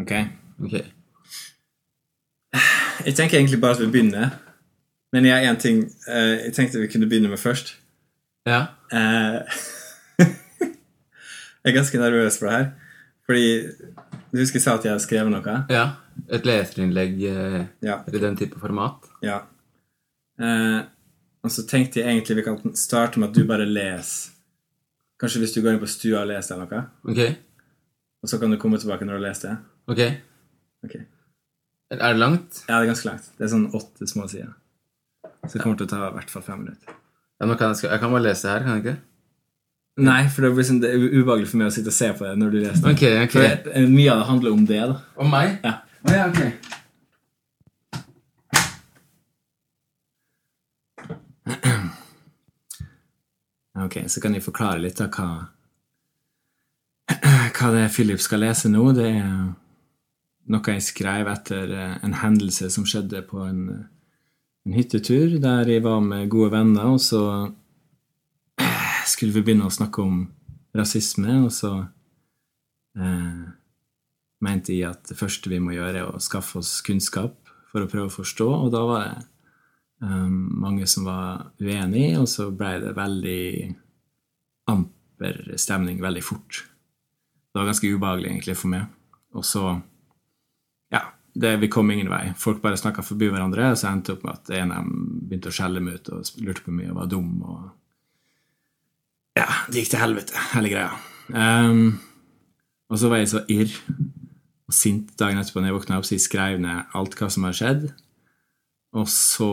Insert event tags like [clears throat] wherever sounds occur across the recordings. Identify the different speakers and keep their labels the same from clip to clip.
Speaker 1: Ok.
Speaker 2: Ok.
Speaker 1: Jeg tenker egentlig bare at vi begynner. Men jeg har en ting eh, jeg tenkte vi kunne begynne med først.
Speaker 2: Ja.
Speaker 1: Eh, [laughs] jeg er ganske nervøs for det her. Fordi du husker jeg sa at jeg hadde skrevet noe?
Speaker 2: ja. Et leserinnlegg eh,
Speaker 1: Ja.
Speaker 2: i den type format.
Speaker 1: ja. Eh, og så tenkte jeg egentlig vi kan starte med at du bare leser. Kanskje hvis du går inn på stua og leser eller noe,
Speaker 2: Ok.
Speaker 1: og så kan du komme tilbake når du har lest det.
Speaker 2: Ok.
Speaker 1: Ok.
Speaker 2: Er det langt?
Speaker 1: Ja, det er ganske langt. Det er sånn åtte små sider. Så det kommer til å ta i hvert fall fem minutter.
Speaker 2: Ja, nå kan jeg, sk- jeg kan bare lese her, kan jeg ikke?
Speaker 1: Nei, for det blir sånn, det er ubehagelig for meg å sitte og se på det når du leser det.
Speaker 2: Ok, ok.
Speaker 1: For det, eh, mye av det handler om det, da.
Speaker 2: Om meg?
Speaker 1: Ja.
Speaker 2: Å ja, ok.
Speaker 1: Ok, så kan jeg forklare litt av hva hva det er Philip skal lese nå. Det er noe jeg skrev etter eh, en hendelse som skjedde på en, en hyttetur, der jeg var med gode venner, og så skulle vi begynne å snakke om rasisme, og så eh, mente jeg at det første vi må gjøre, er å skaffe oss kunnskap for å prøve å forstå, og da var det um, mange som var uenige, og så ble det veldig amper stemning veldig fort. Det var ganske ubehagelig egentlig for meg. Og så Ja, det, vi kom ingen vei. Folk bare snakka forbi hverandre, og så endte det opp med at en av dem begynte å skjelle meg ut og lurte på mye og var dum og Ja, det gikk til helvete, hele greia. Um, og så var jeg så irr og sint dagen etterpå når jeg våkna opp, så jeg skrev ned alt hva som har skjedd. Og så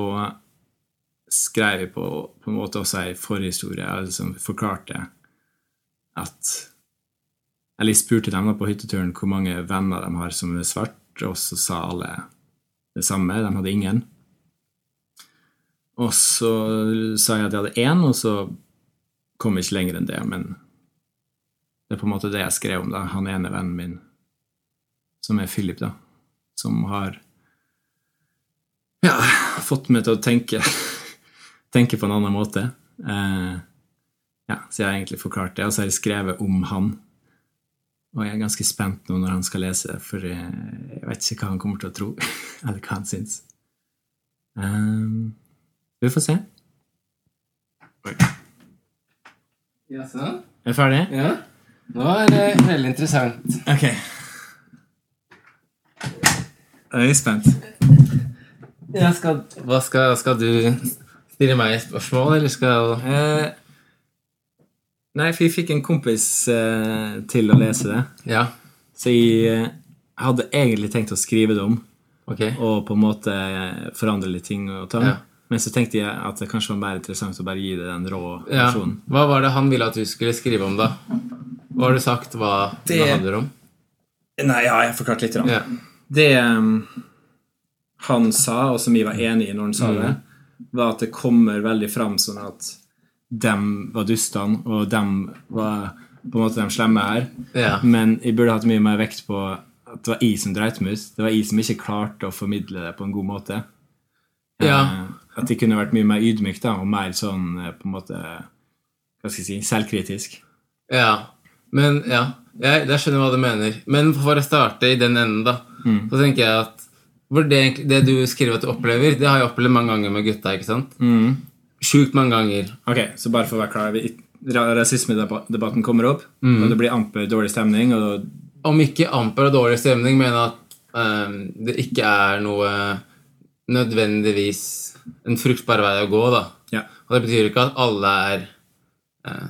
Speaker 1: skrev jeg på, på en måte også ei forhistorie, eller liksom forklarte at Eller jeg spurte dem da på hytteturen hvor mange venner de har som er svart, og så sa alle det samme. De hadde ingen. Og så sa jeg at jeg hadde én, og så kom jeg ikke lenger enn det. Men det er på en måte det jeg skrev om, da. Han ene vennen min, som er Philip, da, som har ja, fått meg til å tenke, [laughs] tenke på en annen måte. Eh, ja, så jeg har egentlig forklart det, og så har jeg skrevet om han. Og jeg er ganske spent nå når han skal lese, for eh, jeg vet ikke hva han kommer til å tro, [laughs] eller hva han syns. Ehm, vi får se.
Speaker 2: Ja, sånn.
Speaker 1: Er du ferdig?
Speaker 2: Ja. Nå er det veldig interessant.
Speaker 1: Ok. Jeg er spent.
Speaker 2: Hva skal, skal du stille meg spørsmål, eller skal
Speaker 1: Eh, nei, for jeg fikk en kompis eh, til å lese det,
Speaker 2: Ja.
Speaker 1: så jeg eh, hadde egentlig tenkt å skrive det om.
Speaker 2: Ok.
Speaker 1: og på en måte eh, forandre litt ting og tang.
Speaker 2: Ja.
Speaker 1: Men så tenkte jeg at det kanskje var mer interessant å bare gi det den rå
Speaker 2: Ja.
Speaker 1: versjonen.
Speaker 2: Hva var det han ville at du skulle skrive om, da? Hva har du sagt hva det,
Speaker 1: Det-
Speaker 2: handler om?
Speaker 1: Nei, ja, jeg har forklart litt.
Speaker 2: Ja.
Speaker 1: Det um, han sa, og som jeg var enig i når han sa
Speaker 2: Mm.
Speaker 1: det, var at det kommer veldig fram sånn at dem var dustene, og dem var på en måte de slemme her.
Speaker 2: ja.
Speaker 1: Men jeg burde hatt mye mer vekt på at det var jeg som dreit meg ut. Det var jeg som ikke klarte å formidle det på en god måte.
Speaker 2: Ja.
Speaker 1: Eh, At de kunne vært mye mer ydmyk da, og mer sånn eh, på en måte hva skal jeg si, selvkritisk.
Speaker 2: ja. Men ja, jeg, jeg skjønner hva du mener. Men for å starte i den enden, da, så tenker jeg at for det, egentlig- det du skriver at du opplever, det har jeg opplevd mange ganger med gutta. ikke sant? Sjukt mange ganger.
Speaker 1: Ok, Så bare for å være klar vi- ra- Rasismedebatten kommer opp, og det blir amper dårlig stemning. Og
Speaker 2: Om ikke amper og dårlig stemning, men at eh, det ikke er noe nødvendigvis en fruktbar vei å gå, da.
Speaker 1: ja.
Speaker 2: Og det betyr ikke at alle er eh,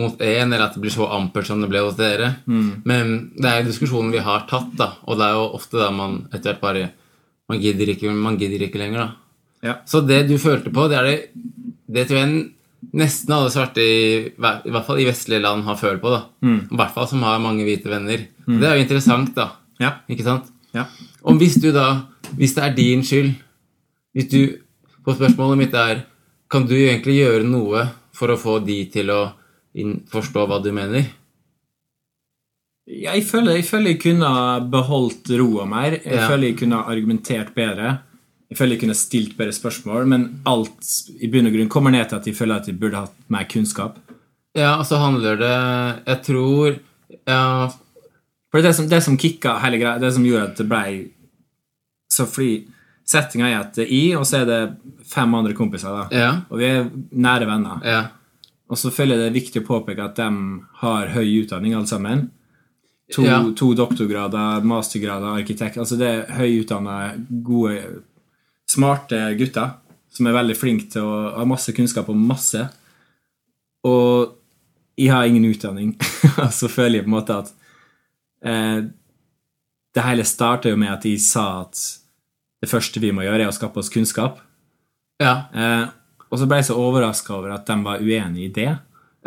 Speaker 2: mot én, eller at det blir så ampert som det ble hos dere. Men det er jo diskusjonen vi har tatt, da, og det er jo ofte da man etter hvert bare Man gidder ikke, man gidder ikke lenger, da.
Speaker 1: Ja.
Speaker 2: Så det du følte på, det er det Det tror jeg nesten alle svarte, i, hver- i hvert fall i vestlige land, har følt på. da. I hvert fall som har mange hvite venner. Det er jo interessant, da.
Speaker 1: Ja.
Speaker 2: Ikke sant?
Speaker 1: ja.
Speaker 2: Og hvis du da, hvis det er din skyld Hvis du, på spørsmålet mitt er Kan du egentlig gjøre noe for å få de til å inn, forstå hva du mener?
Speaker 1: Jeg føler, jeg føler jeg kunne ha beholdt roa mer. Jeg
Speaker 2: Ja.
Speaker 1: føler jeg kunne ha argumentert bedre. Jeg føler jeg kunne ha stilt bedre spørsmål, men alt i bunn og grunn kommer ned til at jeg føler at jeg burde hatt mer kunnskap.
Speaker 2: Ja, og så handler det Jeg tror ja,
Speaker 1: For det som, det som kicka hele greia, det som gjorde at det ble så fordi Settinga er at det er jeg, og så er det fem andre kompiser, da.
Speaker 2: Ja.
Speaker 1: Og vi er nære venner.
Speaker 2: ja.
Speaker 1: Og så føler jeg det er viktig å påpeke at de har høy utdanning, alle sammen. To,
Speaker 2: Ja.
Speaker 1: to doktorgrader, mastergrader, arkitekt Altså det er høyutdanna, gode, smarte gutter som er veldig flinke til å ha masse kunnskap om masse. Og jeg har ingen utdanning, [laughs] og så føler jeg på en måte at eh, Det hele starta jo med at jeg sa at det første vi må gjøre, er å skaffe oss kunnskap.
Speaker 2: ja.
Speaker 1: Eh, og så ble jeg så overraska over at de var uenig i det.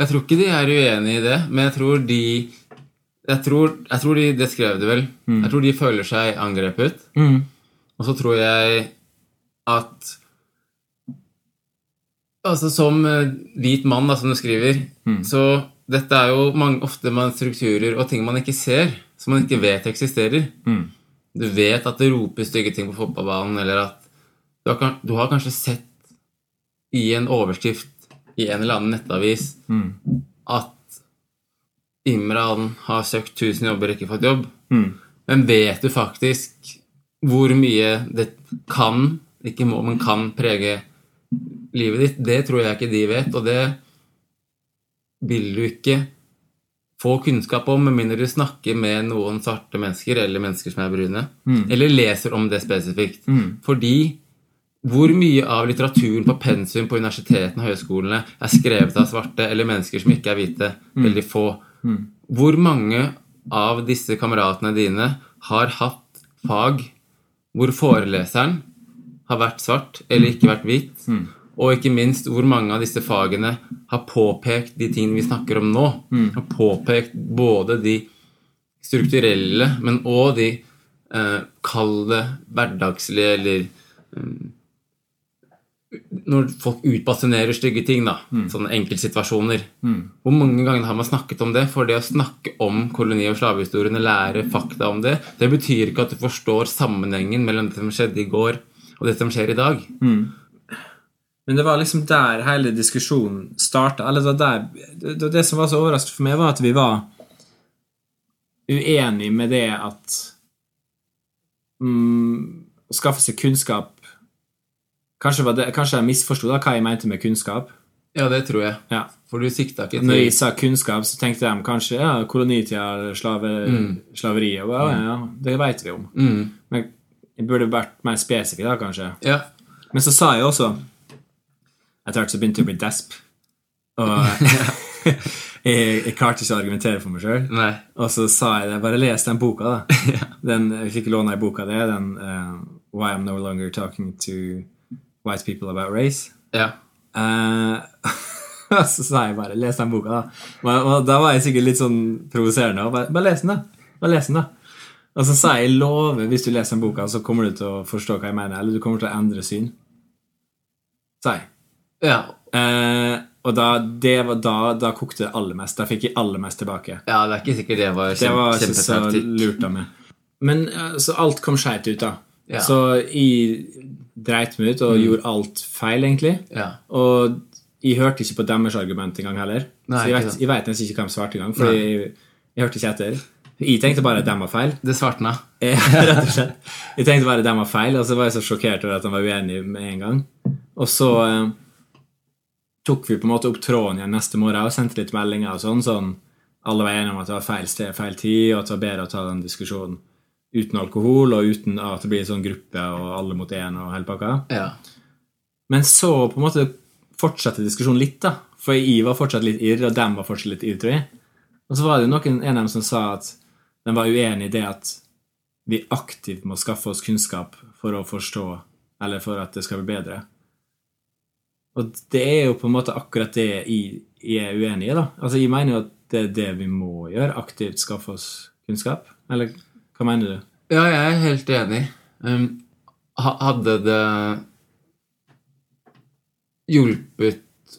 Speaker 2: Jeg tror ikke de er uenige i det, men jeg tror de Jeg tror, jeg tror de Det skrev de vel. Jeg tror de føler seg angrepet.
Speaker 1: Mm.
Speaker 2: Og så tror jeg at Altså som eh, hvit mann, da, som du skriver, så dette er jo mange, ofte man strukturer og ting man ikke ser, som man ikke vet eksisterer.
Speaker 1: Mm.
Speaker 2: Du vet at det roper stygge ting på fotballbanen, eller at du har, kan- du har kanskje sett i en overskrift i en eller annen nettavis
Speaker 1: Mm.
Speaker 2: at Imran har søkt 1000 jobber og ikke fått jobb.
Speaker 1: Mm.
Speaker 2: Men vet du faktisk hvor mye det kan, ikke må, men kan prege livet ditt? Det tror jeg ikke de vet, og det vil du ikke få kunnskap om med mindre du snakker med noen svarte mennesker eller mennesker som er brune, eller leser om det spesifikt. Fordi hvor mye av litteraturen på pensum på universitetene og høyskolene er skrevet av svarte eller mennesker som ikke er hvite? Veldig få. Hvor mange av disse kameratene dine har hatt fag hvor foreleseren har vært svart eller ikke vært hvit? Og ikke minst hvor mange av disse fagene har påpekt de tingene vi snakker om nå? Har påpekt både de strukturelle, men òg de eh, kall det hverdagslige eller når folk utbasunerer stygge ting, da,
Speaker 1: Mm.
Speaker 2: sånne enkeltsituasjoner Hvor mange ganger har man snakket om det? For det å snakke om koloni- og slavehistorien og lære fakta om det, det betyr ikke at du forstår sammenhengen mellom det som skjedde i går, og det som skjer i dag.
Speaker 1: Mm. Men det var liksom der hele diskusjonen starta. Eller det, var der, det, det som var så overraskende for meg, var at vi var uenige med det at mm, Å skaffe seg kunnskap Kanskje, var det, kanskje jeg misforsto da hva jeg mente med kunnskap.
Speaker 2: Ja, det tror jeg.
Speaker 1: Ja.
Speaker 2: For du sikta ikke
Speaker 1: Når jeg
Speaker 2: til
Speaker 1: sa kunnskap, så tenkte de kanskje ja, kolonitida, slave, slaveri og ja, ja, ja, Det veit vi om.
Speaker 2: mm.
Speaker 1: Men jeg burde vært mer spesifikk da, kanskje.
Speaker 2: Ja.
Speaker 1: Men så sa jeg også Etter hvert så begynte jeg å bli desp. Og [laughs] jeg, jeg klarte ikke å argumentere for meg sjøl.
Speaker 2: Nei.
Speaker 1: Og så sa jeg det. Bare les den boka, da. Den, jeg fikk låne ei boka det, den eh, Why I'm No Longer Talking to White People About Race.
Speaker 2: Ja.
Speaker 1: Eh, [laughs] Og så sa jeg bare 'les den boka', da. Og, og da var jeg sikkert litt sånn provoserende. Og bare, bare les den, da. Bare les den, da. Og så sa jeg 'lover, hvis du leser den boka, så kommer du til å forstå hva jeg mener', eller du kommer til å endre syn. Sa jeg.
Speaker 2: Ja.
Speaker 1: Eh, og da, det var da, da kokte det aller mest. Da fikk jeg aller mest tilbake.
Speaker 2: ja, det er ikke sikkert det var,
Speaker 1: Det
Speaker 2: kjempe,
Speaker 1: var ikke så
Speaker 2: kjempetaktikk.
Speaker 1: lurt av meg. Men eh, så alt kom skeit ut, da.
Speaker 2: Ja. Mm.
Speaker 1: Så jeg dreit meg ut og gjorde alt feil, egentlig.
Speaker 2: Ja.
Speaker 1: Og jeg hørte ikke på deres argument engang heller.
Speaker 2: Nei,
Speaker 1: så jeg
Speaker 2: ikke
Speaker 1: vet,
Speaker 2: sant.
Speaker 1: jeg vet nesten ikke hva de svarte engang, for jeg, jeg hørte ikke etter. Jeg tenkte bare at de var feil. [laughs]
Speaker 2: Det svartna. [laughs]
Speaker 1: Eh, Rett og slett. Jeg tenkte bare at de var feil, og så var jeg så sjokkert over at de var uenige med en gang. Og så eh, tok vi på en måte opp tråden igjen neste morgen og sendte litt meldinger og sånn. sånn alle var enige om at det var feil sted, feil tid, og at det var bedre å ta den diskusjonen uten alkohol og uten at det blir sånn gruppe og alle mot én og hele pakka.
Speaker 2: Ja.
Speaker 1: Men så på en måte fortsatte diskusjonen litt, da. For jeg var fortsatt litt irr, og dem var fortsatt litt irr, tror jeg. Og så var det noen, en av dem som sa at de var uenig i det at vi aktivt må skaffe oss kunnskap for å forstå, eller for at det skal bli bedre. Og det er jo på en måte akkurat det jeg, jeg er uenig i, da. Altså, jeg mener jo at det er det vi må gjøre, aktivt skaffe oss kunnskap. Eller hva mener du?
Speaker 2: Ja, jeg er helt enig. Um, ha- hadde det hjulpet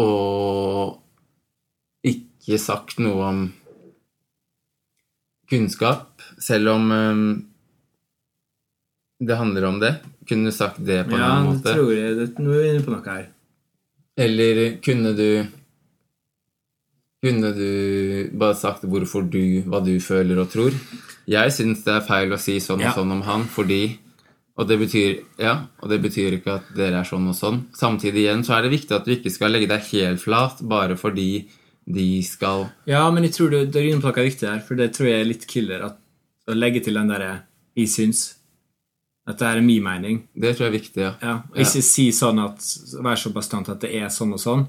Speaker 2: å ikke sagt noe om kunnskap, selv om um, det handler om det? Kunne du sagt det på en
Speaker 1: Ja,
Speaker 2: annen
Speaker 1: det
Speaker 2: måte?
Speaker 1: tror jeg. Det, nå er vi inne på noe her.
Speaker 2: Eller kunne du Kunne du bare sagt hvorfor du, hva du føler og tror? Jeg syns det er feil å si sånn og
Speaker 1: Ja.
Speaker 2: sånn om han, fordi og det, betyr, ja, og det betyr ikke at dere er sånn og sånn. Samtidig igjen så er det viktig at du ikke skal legge deg helt flat bare fordi de skal
Speaker 1: Ja, men jeg tror du, du er inne på noe viktig her, for det tror jeg er litt killer at, å legge til den derre 'jeg syns'. At det her er min mening.
Speaker 2: Det tror jeg er viktig, ja.
Speaker 1: Ja, og ikke si sånn at Vær så bastant at det er sånn og sånn.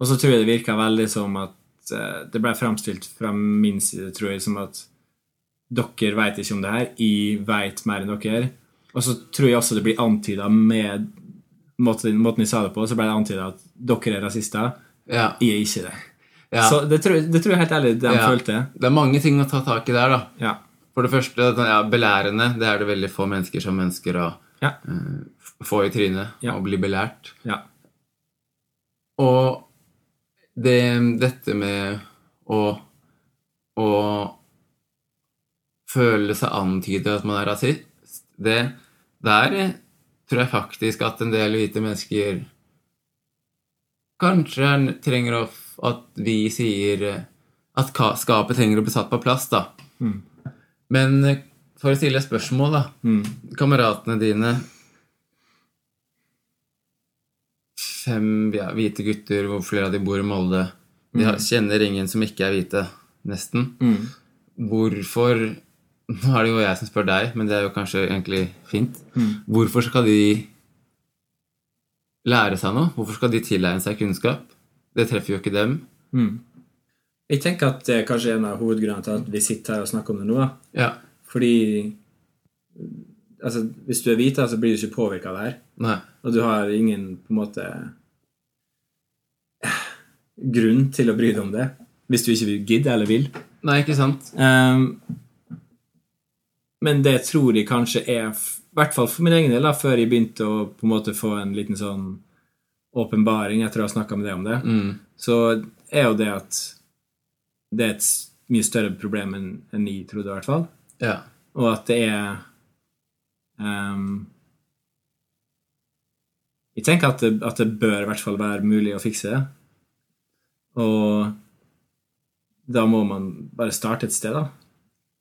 Speaker 1: Og så tror jeg det virka veldig som at eh, Det ble fremstilt fra min side, tror jeg, som at dere veit ikke om det her, jeg veit mer enn dere. Og så tror jeg også det blir antyda med måten, måten jeg sa det på, så ble det antyda at dere er rasister.
Speaker 2: Ja,
Speaker 1: Jeg er ikke det.
Speaker 2: ja.
Speaker 1: Så det tror, jeg- det tror jeg helt ærlig de
Speaker 2: Ja.
Speaker 1: følte.
Speaker 2: Det er mange ting å ta tak i der, da.
Speaker 1: Ja.
Speaker 2: For det første, sånn, ja, belærende. Det er det veldig få mennesker som mennesker å
Speaker 1: Ja.
Speaker 2: eh, f- få i trynet
Speaker 1: Ja.
Speaker 2: og bli belært.
Speaker 1: ja.
Speaker 2: Og det, dette med å, å føle seg antydet at man er rasist, det der eh, tror jeg faktisk at en del hvite mennesker kanskje er- trenger å, f- at vi sier eh, at ka- skapet trenger å bli satt på plass, da.
Speaker 1: Mm.
Speaker 2: Men eh, for å stille et spørsmål, da.
Speaker 1: Mm.
Speaker 2: Kameratene dine Fem ja, hvite gutter, hvor flere av de bor i Molde. De har, kjenner ingen som ikke er hvite, nesten.
Speaker 1: Mm.
Speaker 2: Hvorfor Nå er det jo jeg som spør deg, men det er jo kanskje egentlig fint. Hvorfor skal de lære seg noe? Hvorfor skal de tilegne seg kunnskap? Det treffer jo ikke dem.
Speaker 1: Mm. Jeg tenker at det er kanskje en av hovedgrunnene til at vi sitter her og snakker om det nå. da.
Speaker 2: Ja,
Speaker 1: Fordi altså, hvis du er hvit, da, så blir du ikke påvirka av det her.
Speaker 2: nei,
Speaker 1: Og du har ingen på en måte eh, grunn til å bry deg om det. Hvis du ikke vil- gidder eller vil.
Speaker 2: nei, ikke sant?
Speaker 1: Ehm, men det tror jeg kanskje er f- I hvert fall for min egen del, da, før jeg begynte å på en måte få en liten sånn åpenbaring etter å ha snakka med deg om det,
Speaker 2: Mm.
Speaker 1: så er jo det at det er et s- mye større problem enn enn jeg trodde, i hvert fall.
Speaker 2: Ja.
Speaker 1: Og at det er ehm, Jeg tenker at det, at det bør i hvert fall være mulig å fikse det. Og da må man bare starte et sted, da.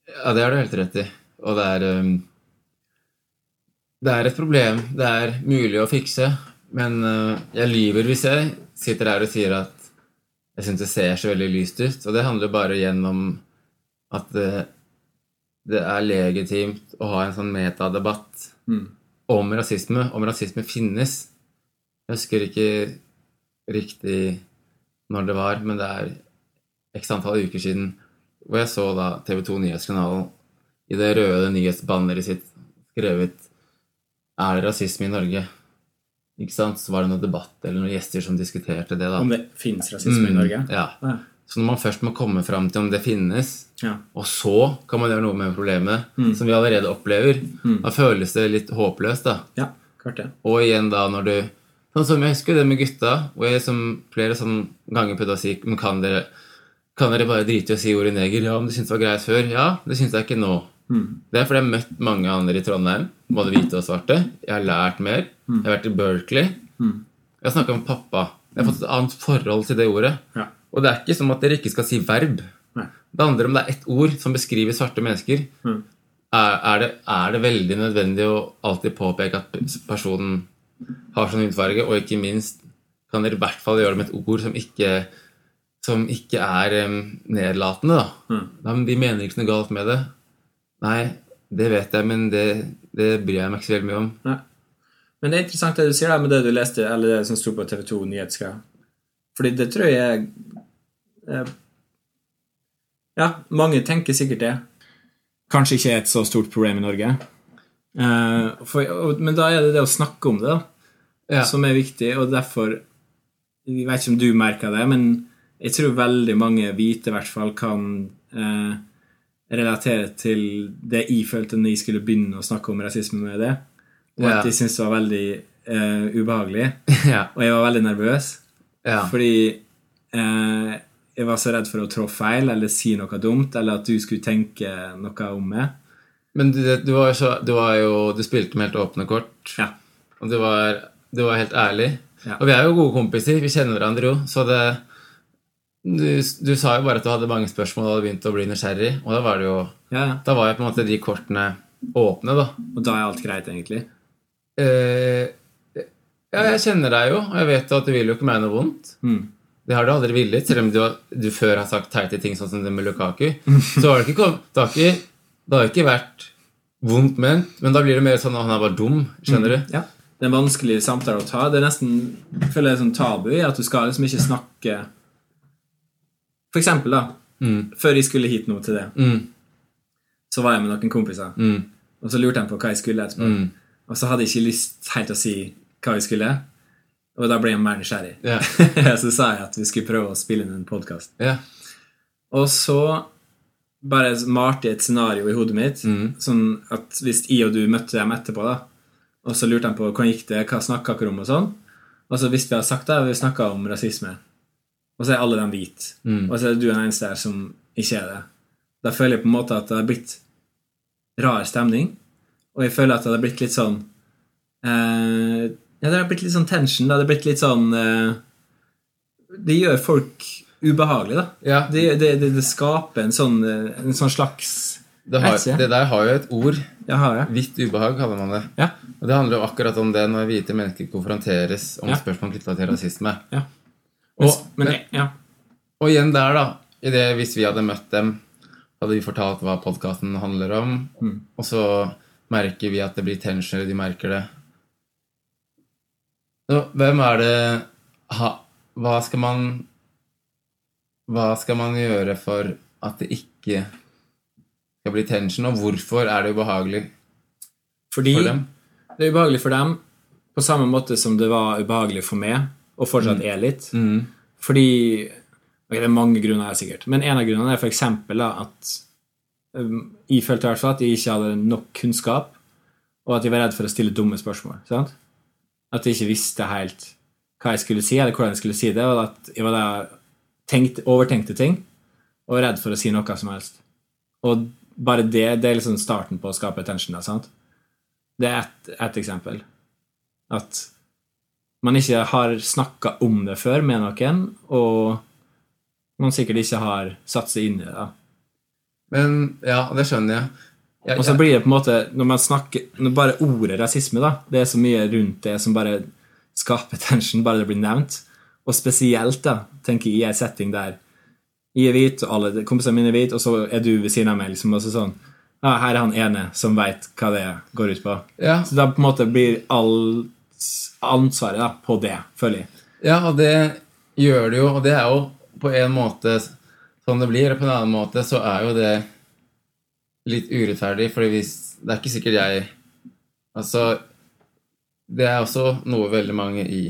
Speaker 2: Ja, det har du helt rett i. Og det er um, Det er et problem. Det er mulig å fikse. Men uh, jeg lyver hvis jeg sitter her og sier at jeg syns det ser så veldig lyst ut. Og det handler bare igjen om at uh, det er legitimt å ha en sånn metadebatt
Speaker 1: Mm.
Speaker 2: om rasisme. Om rasisme finnes. Jeg husker ikke riktig når det var, men det er x antall uker siden hvor jeg så da TV 2 Nyhetskanalen i det røde nyhetsbanneret sitt skrevet 'Er det rasisme i Norge?' Ikke sant? Så var det noen debatt eller noen gjester som diskuterte det. da.
Speaker 1: Om det fins rasisme i
Speaker 2: Mm,
Speaker 1: Norge.
Speaker 2: Ja.
Speaker 1: Ja.
Speaker 2: Så når man først må komme fram til om det finnes,
Speaker 1: Ja.
Speaker 2: og så kan man gjøre noe med problemet,
Speaker 1: Mm.
Speaker 2: som vi allerede opplever, da føles det litt håpløst. da.
Speaker 1: ja, klart det.
Speaker 2: Og igjen da når du Sånn som jeg husker det med gutta, hvor jeg som flere sånn ganger prøvde å si Men kan dere, kan dere bare drite i å si ordet neger? Ja, men det syntes det var greit før. Ja, det syns jeg ikke nå. Det er fordi jeg har møtt mange andre i Trondheim, både hvite og svarte. Jeg har lært mer. Jeg har vært i Berkeley. Jeg har snakka med pappa. Jeg har fått et annet forhold til det ordet.
Speaker 1: Ja.
Speaker 2: Og det er ikke som at dere ikke skal si verb.
Speaker 1: Nei. Mm,
Speaker 2: Det handler om det er ett ord som beskriver svarte mennesker. Er, er, det, er det veldig nødvendig å alltid påpeke at personen har sånn hudfarge? Og ikke minst, kan dere i hvert fall gjøre det med et ord som ikke, som ikke er em, nedlatende, da?
Speaker 1: mm.
Speaker 2: Nei, men vi mener ikke noe galt med det. Nei, det vet jeg, men det, det bryr jeg meg ikke så veldig mye om.
Speaker 1: Nei. Men det er interessant det du sier da, med det du leste, eller det som sto på TV 2 Nyhetsgreia. Fordi det tror jeg eh, Ja, mange tenker sikkert det. Kanskje ikke er et så stort problem i Norge. Eh, for, og, men da er det det å snakke om det, da,
Speaker 2: Ja.
Speaker 1: som er viktig, og derfor Jeg vet ikke om du merker det, men jeg tror veldig mange hvite i hvert fall kan eh, relatere til det jeg følte når jeg skulle begynne å snakke om rasisme med det. Og
Speaker 2: Ja.
Speaker 1: at de syntes det var veldig eh, ubehagelig.
Speaker 2: [laughs] ja,
Speaker 1: Og jeg var veldig nervøs,
Speaker 2: [laughs] ja,
Speaker 1: fordi eh, jeg var så redd for å trå feil eller si noe dumt, eller at du skulle tenke noe om meg.
Speaker 2: Men du, du, var, jo så, du var jo Du spilte med helt åpne kort.
Speaker 1: Ja.
Speaker 2: Og du var, du var helt ærlig.
Speaker 1: Ja.
Speaker 2: Og vi er jo gode kompiser. Vi kjenner hverandre jo. Så det Du, du sa jo bare at du hadde mange spørsmål og hadde begynt å bli nysgjerrig. Og da var det jo
Speaker 1: Ja, ja.
Speaker 2: Da var jo på en måte de kortene åpne, da.
Speaker 1: Og da er alt greit, egentlig.
Speaker 2: Eh, ja, jeg kjenner deg jo, og jeg vet jo at du vil jo ikke meg noe vondt.
Speaker 1: Mm.
Speaker 2: Det har du aldri villet, selv om du, har- du før har sagt teite ting sånn som det med Lukaku. Så har det ikke kommet Det har ikke, det har ikke vært vondt ment, men da blir det mer sånn at han er bare dum. Skjønner du?
Speaker 1: Ja. Det er en vanskelig samtale å ta. Det er nesten jeg føler jeg er sånn tabu i at du skal liksom ikke snakke For eksempel, da.
Speaker 2: Mm.
Speaker 1: Før jeg skulle hit nå til det,
Speaker 2: Mm,
Speaker 1: så var jeg med noen kompiser.
Speaker 2: mm,
Speaker 1: Og så lurte jeg på hva jeg skulle etterpå.
Speaker 2: mm.
Speaker 1: Og så hadde jeg ikke lyst helt å si hva vi skulle. Og da ble jeg mer nysgjerrig. [laughs]
Speaker 2: Ja.
Speaker 1: så sa jeg at vi skulle prøve å spille inn en podkast.
Speaker 2: ja.
Speaker 1: Og så bare malte jeg et scenario i hodet mitt. Sånn at hvis jeg og du møtte dem etterpå, da, og så lurte de på hvordan gikk det, hva snakka dere om, og sånn. Og så hvis vi hadde sagt det, vi snakka om rasisme, og så er alle dem hvite, og så er du den eneste her som ikke er det, da føler jeg på en måte at det har blitt rar stemning, og jeg føler at det har blitt litt sånn eh, Ja, det har blitt litt sånn tension, det har blitt litt sånn eh, Det gjør folk ubehagelige, da.
Speaker 2: ja.
Speaker 1: Det, det, det, det skaper en sånn, eh, en sånn slags
Speaker 2: Det, har,
Speaker 1: Jeg ser.
Speaker 2: det der har jo et ord.
Speaker 1: Jeg har det.
Speaker 2: Hvitt ubehag kaller man det.
Speaker 1: Ja.
Speaker 2: Og det handler jo akkurat om det når hvite mennesker konfronteres om
Speaker 1: Ja.
Speaker 2: spørsmål knytta til rasisme.
Speaker 1: Ja.
Speaker 2: Og,
Speaker 1: Men, jeg- ja.
Speaker 2: og igjen der, da. I det, hvis vi hadde møtt dem, hadde vi fortalt hva podkasten handler om,
Speaker 1: Mm.
Speaker 2: og så merker vi at det blir tension, eller de merker det. Så, hvem er det ha, Hva skal man Hva skal man gjøre for at det ikke skal bli tension, og hvorfor er det ubehagelig
Speaker 1: Fordi
Speaker 2: for dem?
Speaker 1: det er ubehagelig for dem på samme måte som det var ubehagelig for meg, og fortsatt er litt. Fordi ok, Det er mange grunner her, sikkert. Men en av grunnene er for eksempel da, at um, jeg følte i hvert fall at jeg ikke hadde nok kunnskap, og at jeg var redd for å stille dumme spørsmål. Sant? At jeg ikke visste helt hva jeg skulle si, eller hvordan jeg skulle si det, og at jeg var da tenkte- overtenkte ting, og var redd for å si noe som helst. Og bare det, det er liksom starten på å skape attention. Da, sant? Det er ett et eksempel. At man ikke har snakka om det før med noen, og man sikkert ikke har satt seg inn i det. da.
Speaker 2: Men ja, det skjønner jeg. Jeg-
Speaker 1: Og så blir det på en måte, når man snakker når Bare ordet rasisme, da. Det er så mye rundt det som bare skaper [laughs] tension, bare det blir nevnt. Og spesielt, da, tenker jeg, i en setting der jeg er hvit, og alle kompisene mine er hvite, og så er du ved siden av meg, liksom, og så sånn Ja, her er han ene som veit hva det går ut på.
Speaker 2: ja,
Speaker 1: Så da på en måte blir all ansvaret da, på det, føler jeg.
Speaker 2: ja, og det gjør det jo, og det er jo på en måte sånn det blir, og på en annen måte så er jo det litt urettferdig, fordi hvis Det er ikke sikkert jeg Altså, det er også noe veldig mange i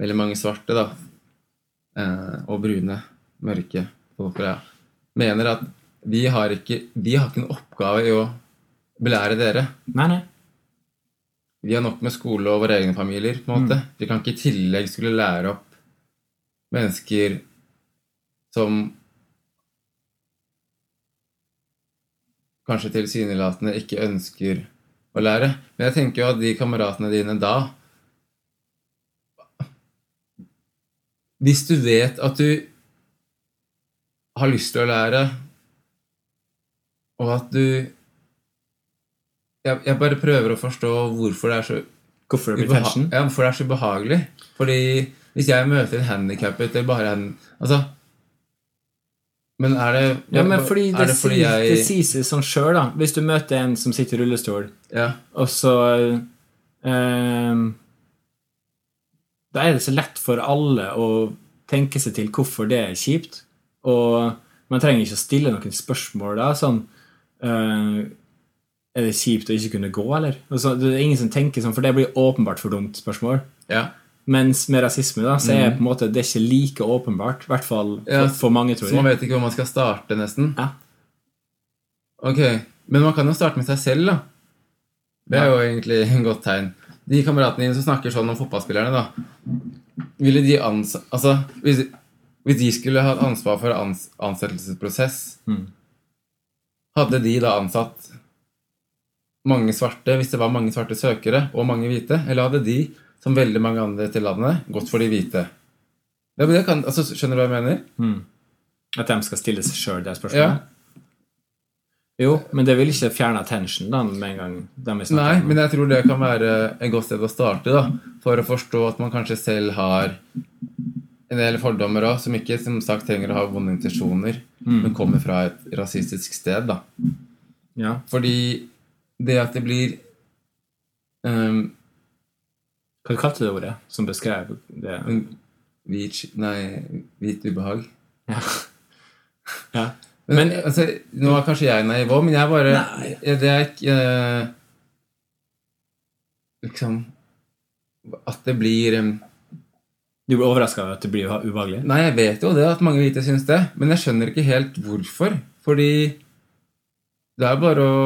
Speaker 2: Veldig mange svarte, da, eh, og brune, mørke folk fra mener at vi har ikke Vi har ikke noen oppgave i å belære dere.
Speaker 1: Nei, nei.
Speaker 2: vi har nok med skole og våre egne familier. på en måte. Vi kan ikke i tillegg skulle lære opp mennesker som kanskje tilsynelatende ikke ønsker å lære. Men jeg tenker jo at de kameratene dine da Hvis du vet at du har lyst til å lære, og at du jeg, jeg bare prøver å forstå hvorfor det er så,
Speaker 1: Hvorfor det blir
Speaker 2: ubeha
Speaker 1: tension?
Speaker 2: ja, hvorfor det er så ubehagelig. Fordi hvis jeg møter en handikappet eller bare en Altså Men er det
Speaker 1: Ja, men fordi
Speaker 2: er
Speaker 1: det,
Speaker 2: det fordi
Speaker 1: sies,
Speaker 2: jeg
Speaker 1: det sies det sånn sjøl, da. Hvis du møter en som sitter i rullestol,
Speaker 2: ja,
Speaker 1: og så eh, Da er det så lett for alle å tenke seg til hvorfor det er kjipt. Og man trenger ikke å stille noen spørsmål da. Sånn eh, Er det kjipt å ikke kunne gå, eller? Og så, det er ingen som tenker sånn, for det blir åpenbart for dumt spørsmål.
Speaker 2: ja,
Speaker 1: Mens med rasisme da, så er på en måte, det er ikke like åpenbart. I hvert fall for,
Speaker 2: Mm. Ja,
Speaker 1: for mange, tror
Speaker 2: Så man
Speaker 1: jeg.
Speaker 2: vet ikke hvor man skal starte, nesten.
Speaker 1: Ja.
Speaker 2: Ok, Men man kan jo starte med seg selv, da. Det er jo egentlig et godt tegn. De kameratene dine som snakker sånn om fotballspillerne, da Ville de ans... Altså, hvis, hvis de skulle hatt ansvar for ans ansettelsesprosess, hadde de da ansatt mange svarte, hvis det var mange svarte søkere og mange hvite? Eller hadde de, som veldig mange andre til landet, gått for de hvite? Ja, men det kan, altså, skjønner du hva jeg mener?
Speaker 1: At de skal stille seg sjøl det
Speaker 2: Ja.
Speaker 1: spørsmålet? Jo, men det vil ikke fjerne attention da, med en gang. De vi snakker
Speaker 2: Nei,
Speaker 1: om.
Speaker 2: men jeg tror det
Speaker 1: [laughs]
Speaker 2: kan være et godt sted å starte, da. For å forstå at man kanskje selv har en del fordommer òg, som ikke som sagt trenger å ha vonde intensjoner,
Speaker 1: Mm.
Speaker 2: men kommer fra et rasistisk sted, da.
Speaker 1: Ja.
Speaker 2: Fordi det at det blir ehm,
Speaker 1: Hva kalte du det ordet som beskrev det?
Speaker 2: en hvit Nei, hvit ubehag. [laughs]
Speaker 1: Ja. ja.
Speaker 2: Men,
Speaker 1: Men-
Speaker 2: altså, nå er kanskje jeg naiv òg, men jeg bare
Speaker 1: Nei.
Speaker 2: jeg, Det er ikke eh, Liksom At det blir ehm, em,
Speaker 1: Du ble overraska over at det blir ubehagelig?
Speaker 2: Nei, jeg vet jo det at mange hvite syns det, men jeg skjønner ikke helt hvorfor. Fordi det er bare å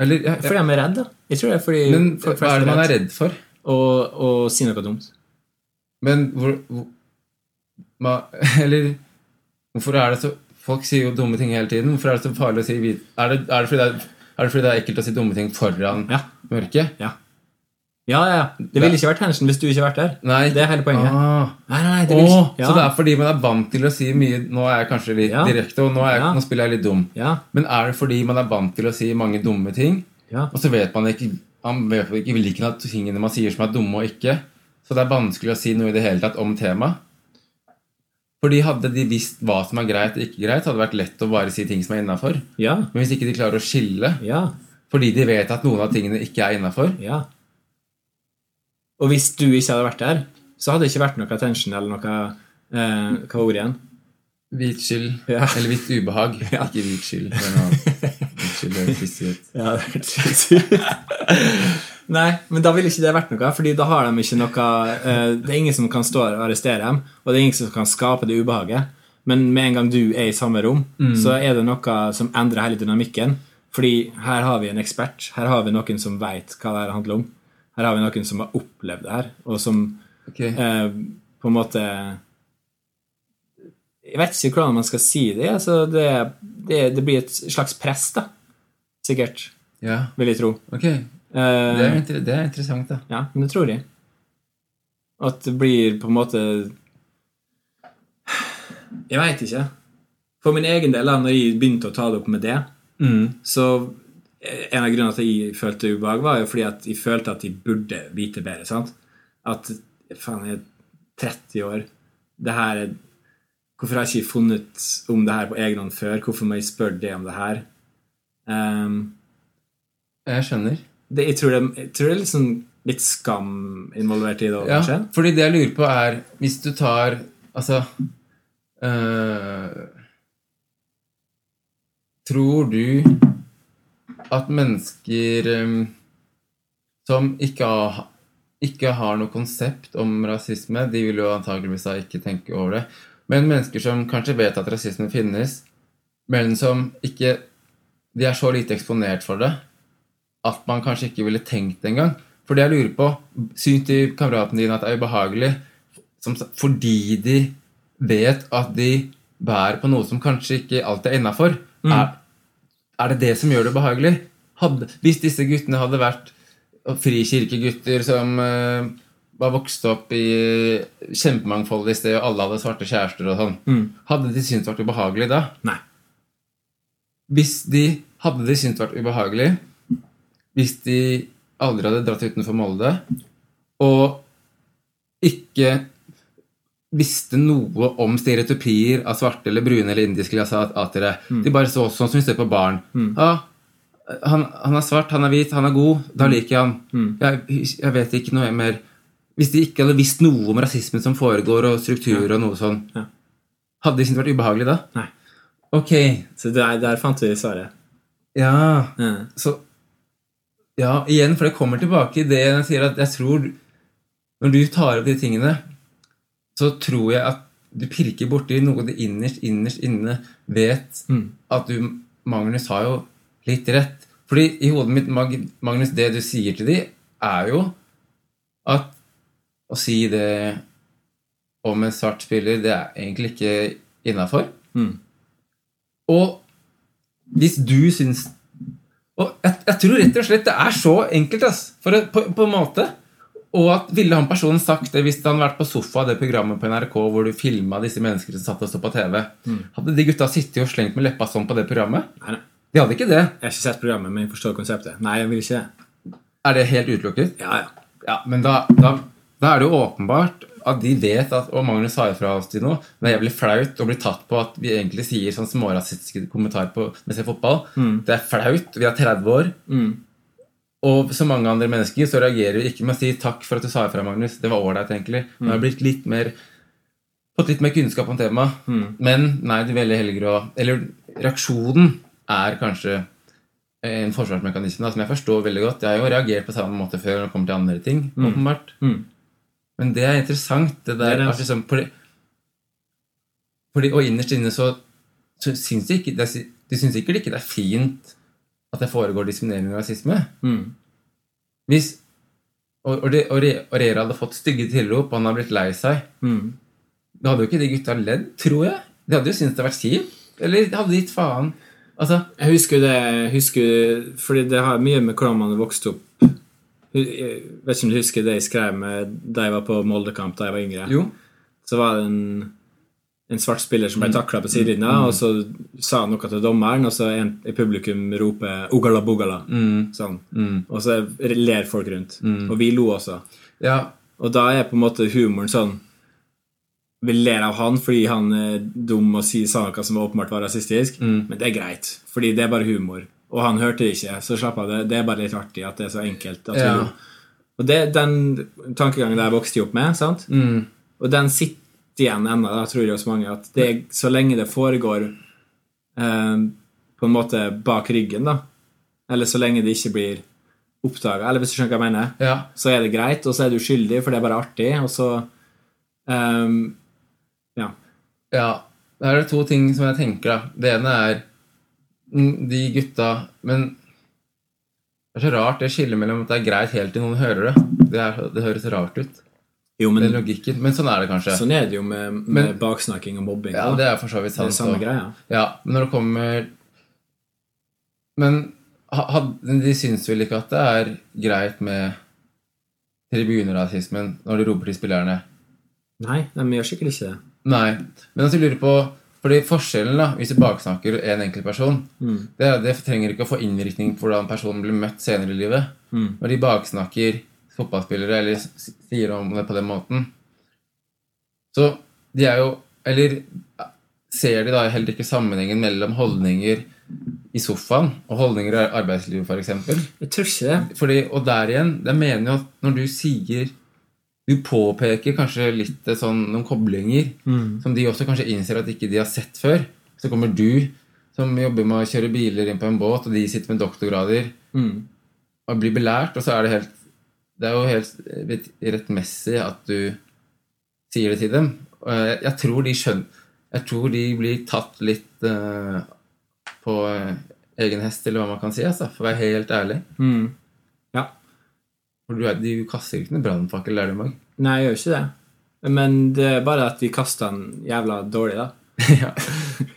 Speaker 2: Eller jeg, jeg,
Speaker 1: Fordi de er redde. da. Jeg tror det er fordi
Speaker 2: Men
Speaker 1: folk
Speaker 2: hva er det man er redd for?
Speaker 1: Og, og si noe dumt.
Speaker 2: Men hvor, hvor ma, [laughs] Eller hvorfor er det så Folk sier jo dumme ting hele tiden. Hvorfor er det så farlig å si hvit Er det, er det, fordi, det er, er det fordi det er ekkelt å si dumme ting foran
Speaker 1: Ja.
Speaker 2: mørket?
Speaker 1: Ja, ja, ja. Det ville ikke vært hendelsen hvis du ikke vært der.
Speaker 2: Nei.
Speaker 1: Det er hele poenget.
Speaker 2: Ah.
Speaker 1: Nei, nei, nei, det vil
Speaker 2: Åh,
Speaker 1: ikke. Ja.
Speaker 2: Så det er fordi man er vant til å si mye Nå er jeg kanskje litt
Speaker 1: Ja.
Speaker 2: direkte, og nå, er jeg,
Speaker 1: Ja.
Speaker 2: nå spiller jeg litt dum.
Speaker 1: ja,
Speaker 2: Men er det fordi man er vant til å si mange dumme ting,
Speaker 1: ja.
Speaker 2: og så vet man ikke man vet ikke hvilken av tingene man sier som er dumme og ikke, så det er vanskelig å si noe i det hele tatt om temaet? Fordi hadde de visst hva som er greit og ikke greit, hadde det vært lett å bare si ting som er innafor.
Speaker 1: Ja,
Speaker 2: Men hvis ikke de klarer å skille
Speaker 1: ja,
Speaker 2: fordi de vet at noen av tingene ikke er innafor
Speaker 1: ja. Og hvis du ikke hadde vært der, så hadde det ikke vært noe attention eller noe eh, Hva var ordet igjen?
Speaker 2: Hvit skyld
Speaker 1: Ja.
Speaker 2: eller hvitt ubehag. Ikke hvit skyld, men noe annet. Hvit skyld høres trist ut.
Speaker 1: Ja, det hørtes litt ut. [laughs] Nei, men da ville ikke det vært noe, Fordi da har de ikke noe eh, Det er ingen som kan stå og arrestere dem, og det er ingen som kan skape det ubehaget. Men med en gang du er i samme rom, så er det noe som endrer hele dynamikken. Fordi her har vi en ekspert. Her har vi noen som veit hva det her handler om. Her har vi noen som har opplevd det her, og som
Speaker 2: Ok.
Speaker 1: eh, på en måte Jeg vet ikke hvordan man skal si det. Altså, det, det, det blir et slags press, da. Sikkert,
Speaker 2: Ja,
Speaker 1: vil jeg tro.
Speaker 2: ok. Det
Speaker 1: Eh,
Speaker 2: er, inter det er interessant, da.
Speaker 1: Ja, men det tror jeg. At det blir på en måte Jeg veit ikke. For min egen del, da når jeg begynte å ta det opp med det, så eh, En av grunnene til at jeg følte ubehag, var jo fordi at jeg følte at jeg burde vite bedre. sant? At faen, jeg er 30 år. det her er Hvorfor har jeg ikke funnet om det her på egen hånd før? Hvorfor må jeg spørre det om det her? Ehm,
Speaker 2: Jeg skjønner.
Speaker 1: det, jeg, tror det, jeg tror det er litt, sånn, litt skam involvert i det òg,
Speaker 2: Ja,
Speaker 1: kanskje?
Speaker 2: fordi det jeg lurer på, er Hvis du tar Altså øh, Tror du at mennesker øhm, som ikke har, ikke har noe konsept om rasisme De vil jo antakeligvis da ikke tenke over det. Men mennesker som kanskje vet at rasisme finnes, men som ikke De er så lite eksponert for det at man kanskje ikke ville tenkt det engang. For det jeg lurer på, syns de kameratene dine at det er ubehagelig som, sa- fordi de vet at de bærer på noe som kanskje ikke alltid er innafor? Er, er det det som gjør det ubehagelig? Hadde, hvis disse guttene hadde vært frikirkegutter som eh, var vokst opp i kjempemangfoldig sted, og alle hadde svarte kjærester og sånn,
Speaker 1: Mm.
Speaker 2: hadde de syntes det vært ubehagelig da?
Speaker 1: Nei.
Speaker 2: Hvis de hadde de syntes det vært ubehagelig Hvis de aldri hadde dratt utenfor Molde Og ikke visste noe om stereotypier av svarte eller brune eller indiske eller asa- atere.
Speaker 1: Mm.
Speaker 2: De bare så sånn som vi ser på barn. Ah, han, han er svart, han er hvit, han er god.
Speaker 1: Mm.
Speaker 2: Da liker jeg han. Jeg, jeg vet ikke noe mer. Hvis de ikke hadde visst noe om rasismen som foregår, og struktur og noe sånn,
Speaker 1: Ja.
Speaker 2: hadde de syntes det vært ubehagelig da?
Speaker 1: Nei.
Speaker 2: Ok,
Speaker 1: Så der, der fant vi svaret.
Speaker 2: ja
Speaker 1: Mm.
Speaker 2: så Ja, igjen, for det kommer tilbake i det jeg sier at jeg tror Når du tar opp de tingene, så tror jeg at du pirker borti noe det innerst, innerst inne vet
Speaker 1: Mm.
Speaker 2: at du Magnus har jo litt rett. Fordi i hodet mitt, Mag- Magnus, det du sier til de, er jo at å si det om en svart spiller, det er egentlig ikke innafor.
Speaker 1: Mm.
Speaker 2: Og hvis du syns og jeg, jeg tror rett og slett det er så enkelt, ass. For, å- på, på en måte. Og at ville han personen sagt det hvis han hadde vært på sofa det programmet på NRK hvor du filma disse menneskene som satt og så på TV? Hadde de gutta sittet og slengt med leppa sånn på det programmet?
Speaker 1: Nei, nei.
Speaker 2: De hadde ikke det.
Speaker 1: Jeg har ikke sett programmet, men jeg forstår konseptet. Nei, jeg vil ikke det.
Speaker 2: Er det helt utelukket?
Speaker 1: Ja, ja.
Speaker 2: Ja, men da, da, da er det jo åpenbart at de vet at Og Magnus sa jo fra oss til nå. Det er jævlig flaut å bli tatt på at vi egentlig sier sånn smårasistiske kommentarer på, mens jeg fotball. Det er flaut. Vi er 30 år. Og som mange andre mennesker så reagerer vi ikke med å si 'takk for at du sa ifra, Magnus'. Det var ålreit, egentlig. Nå har jeg blitt litt mer fått litt mer kunnskap om temaet.
Speaker 1: Mm.
Speaker 2: Men nei, du velger heller å Eller reaksjonen er kanskje eh, en forsvarsmekanisme da, som jeg forstår veldig godt. Jeg har jo reagert på samme måte før når det kommer til andre ting. åpenbart.
Speaker 1: Mm.
Speaker 2: Men det er interessant. det
Speaker 1: Det altså.
Speaker 2: der,
Speaker 1: er det.
Speaker 2: at liksom, fordi, fordi, Og innerst inne så, så syns de, ikke, det er- de syns sikkert ikke det er fint at det foregår diskriminering og rasisme.
Speaker 1: Mm.
Speaker 2: Hvis, og, og, det, og, Re, og Rera hadde fått stygge tilrop, og han hadde blitt lei seg
Speaker 1: Mm.
Speaker 2: Da hadde jo ikke de gutta ledd, tror jeg. De hadde jo syntes det hadde vært kjipt. Eller de hadde gitt faen. Altså,
Speaker 1: Jeg husker det jeg husker, Fordi det har mye med hvordan man har vokst opp Jeg vet ikke om du husker det jeg skrev med da jeg var på Moldekamp da jeg var yngre.
Speaker 2: jo.
Speaker 1: Så var det en, en svart spiller som ble takla på sidelinja, og så sa han noe til dommeren, og så en i publikum roper 'Ogala bogala'. Sånn. Og så ler folk rundt. Og vi lo også.
Speaker 2: Ja,
Speaker 1: Og da er på en måte humoren sånn Vi ler av han fordi han er dum og sier saker som åpenbart var rasistisk, men det er greit, fordi det er bare humor. Og han hørte det ikke, så slapp av det. Det er bare litt artig at det er så enkelt. At vi
Speaker 2: Ja.
Speaker 1: lo. Og det, Den tankegangen der vokste jeg opp med, sant? og den sitter igjen ennå, da, tror jeg hos mange, at det, er- så lenge det foregår eh, på en måte bak ryggen, da, eller så lenge det ikke blir oppdaga, eller hvis du skjønner hva jeg mener,
Speaker 2: ja,
Speaker 1: så er det greit, og så er du skyldig, for det er bare artig, og så ehm, Ja.
Speaker 2: ja. Da er det to ting som jeg tenker, da. Det ene er mm, de gutta Men det er så rart det skillet mellom at det er greit helt til noen hører det. Det, er, det høres rart ut,
Speaker 1: Jo,
Speaker 2: den
Speaker 1: men
Speaker 2: logikken. Men sånn er det kanskje.
Speaker 1: sånn er det jo med, med
Speaker 2: Men-
Speaker 1: baksnakking og mobbing.
Speaker 2: Ja,
Speaker 1: da.
Speaker 2: det er for så vidt
Speaker 1: det
Speaker 2: sant.
Speaker 1: er samme
Speaker 2: og-
Speaker 1: greia.
Speaker 2: Ja, men når det kommer Men ha- had- de syns vel ikke at det er greit med tribunerasismen når de roper til spillerne?
Speaker 1: Nei, de gjør sikkert ikke det.
Speaker 2: Nei. Men altså, jeg lurer på fordi forskjellen da, Hvis du baksnakker en enkelt person
Speaker 1: Mm,
Speaker 2: det, er- det trenger ikke å få innvirkning på hvordan personen blir møtt senere i livet.
Speaker 1: mm.
Speaker 2: Når de baksnakker fotballspillere eller s- sier om det på den måten Så de er jo Eller ser de da heller ikke sammenhengen mellom holdninger i sofaen og holdninger i arbeidslivet, f.eks.? For eksempel?
Speaker 1: Jeg tror ikke det.
Speaker 2: Fordi, og der igjen, jeg mener jo at når du sier Du påpeker kanskje litt eh, sånn noen koblinger
Speaker 1: Mm,
Speaker 2: som de også kanskje innser at ikke de har sett før. Så kommer du, som jobber med å kjøre biler inn på en båt, og de sitter med doktorgrader
Speaker 1: mm,
Speaker 2: og blir belært, og så er det helt Det er jo helt eh, rett- rettmessig at du sier det til dem. Og jeg, jeg tror de skjønner Jeg tror de blir tatt litt eh, på eh, egen hest, eller hva man kan si, altså, for å være helt ærlig.
Speaker 1: mm. Ja.
Speaker 2: For du, er, du kaster ikke noen brannfakkel der du, Mag.
Speaker 1: Nei, jeg gjør ikke det. Men det er bare at de kaster den jævla dårlig, da.
Speaker 2: [laughs] ja.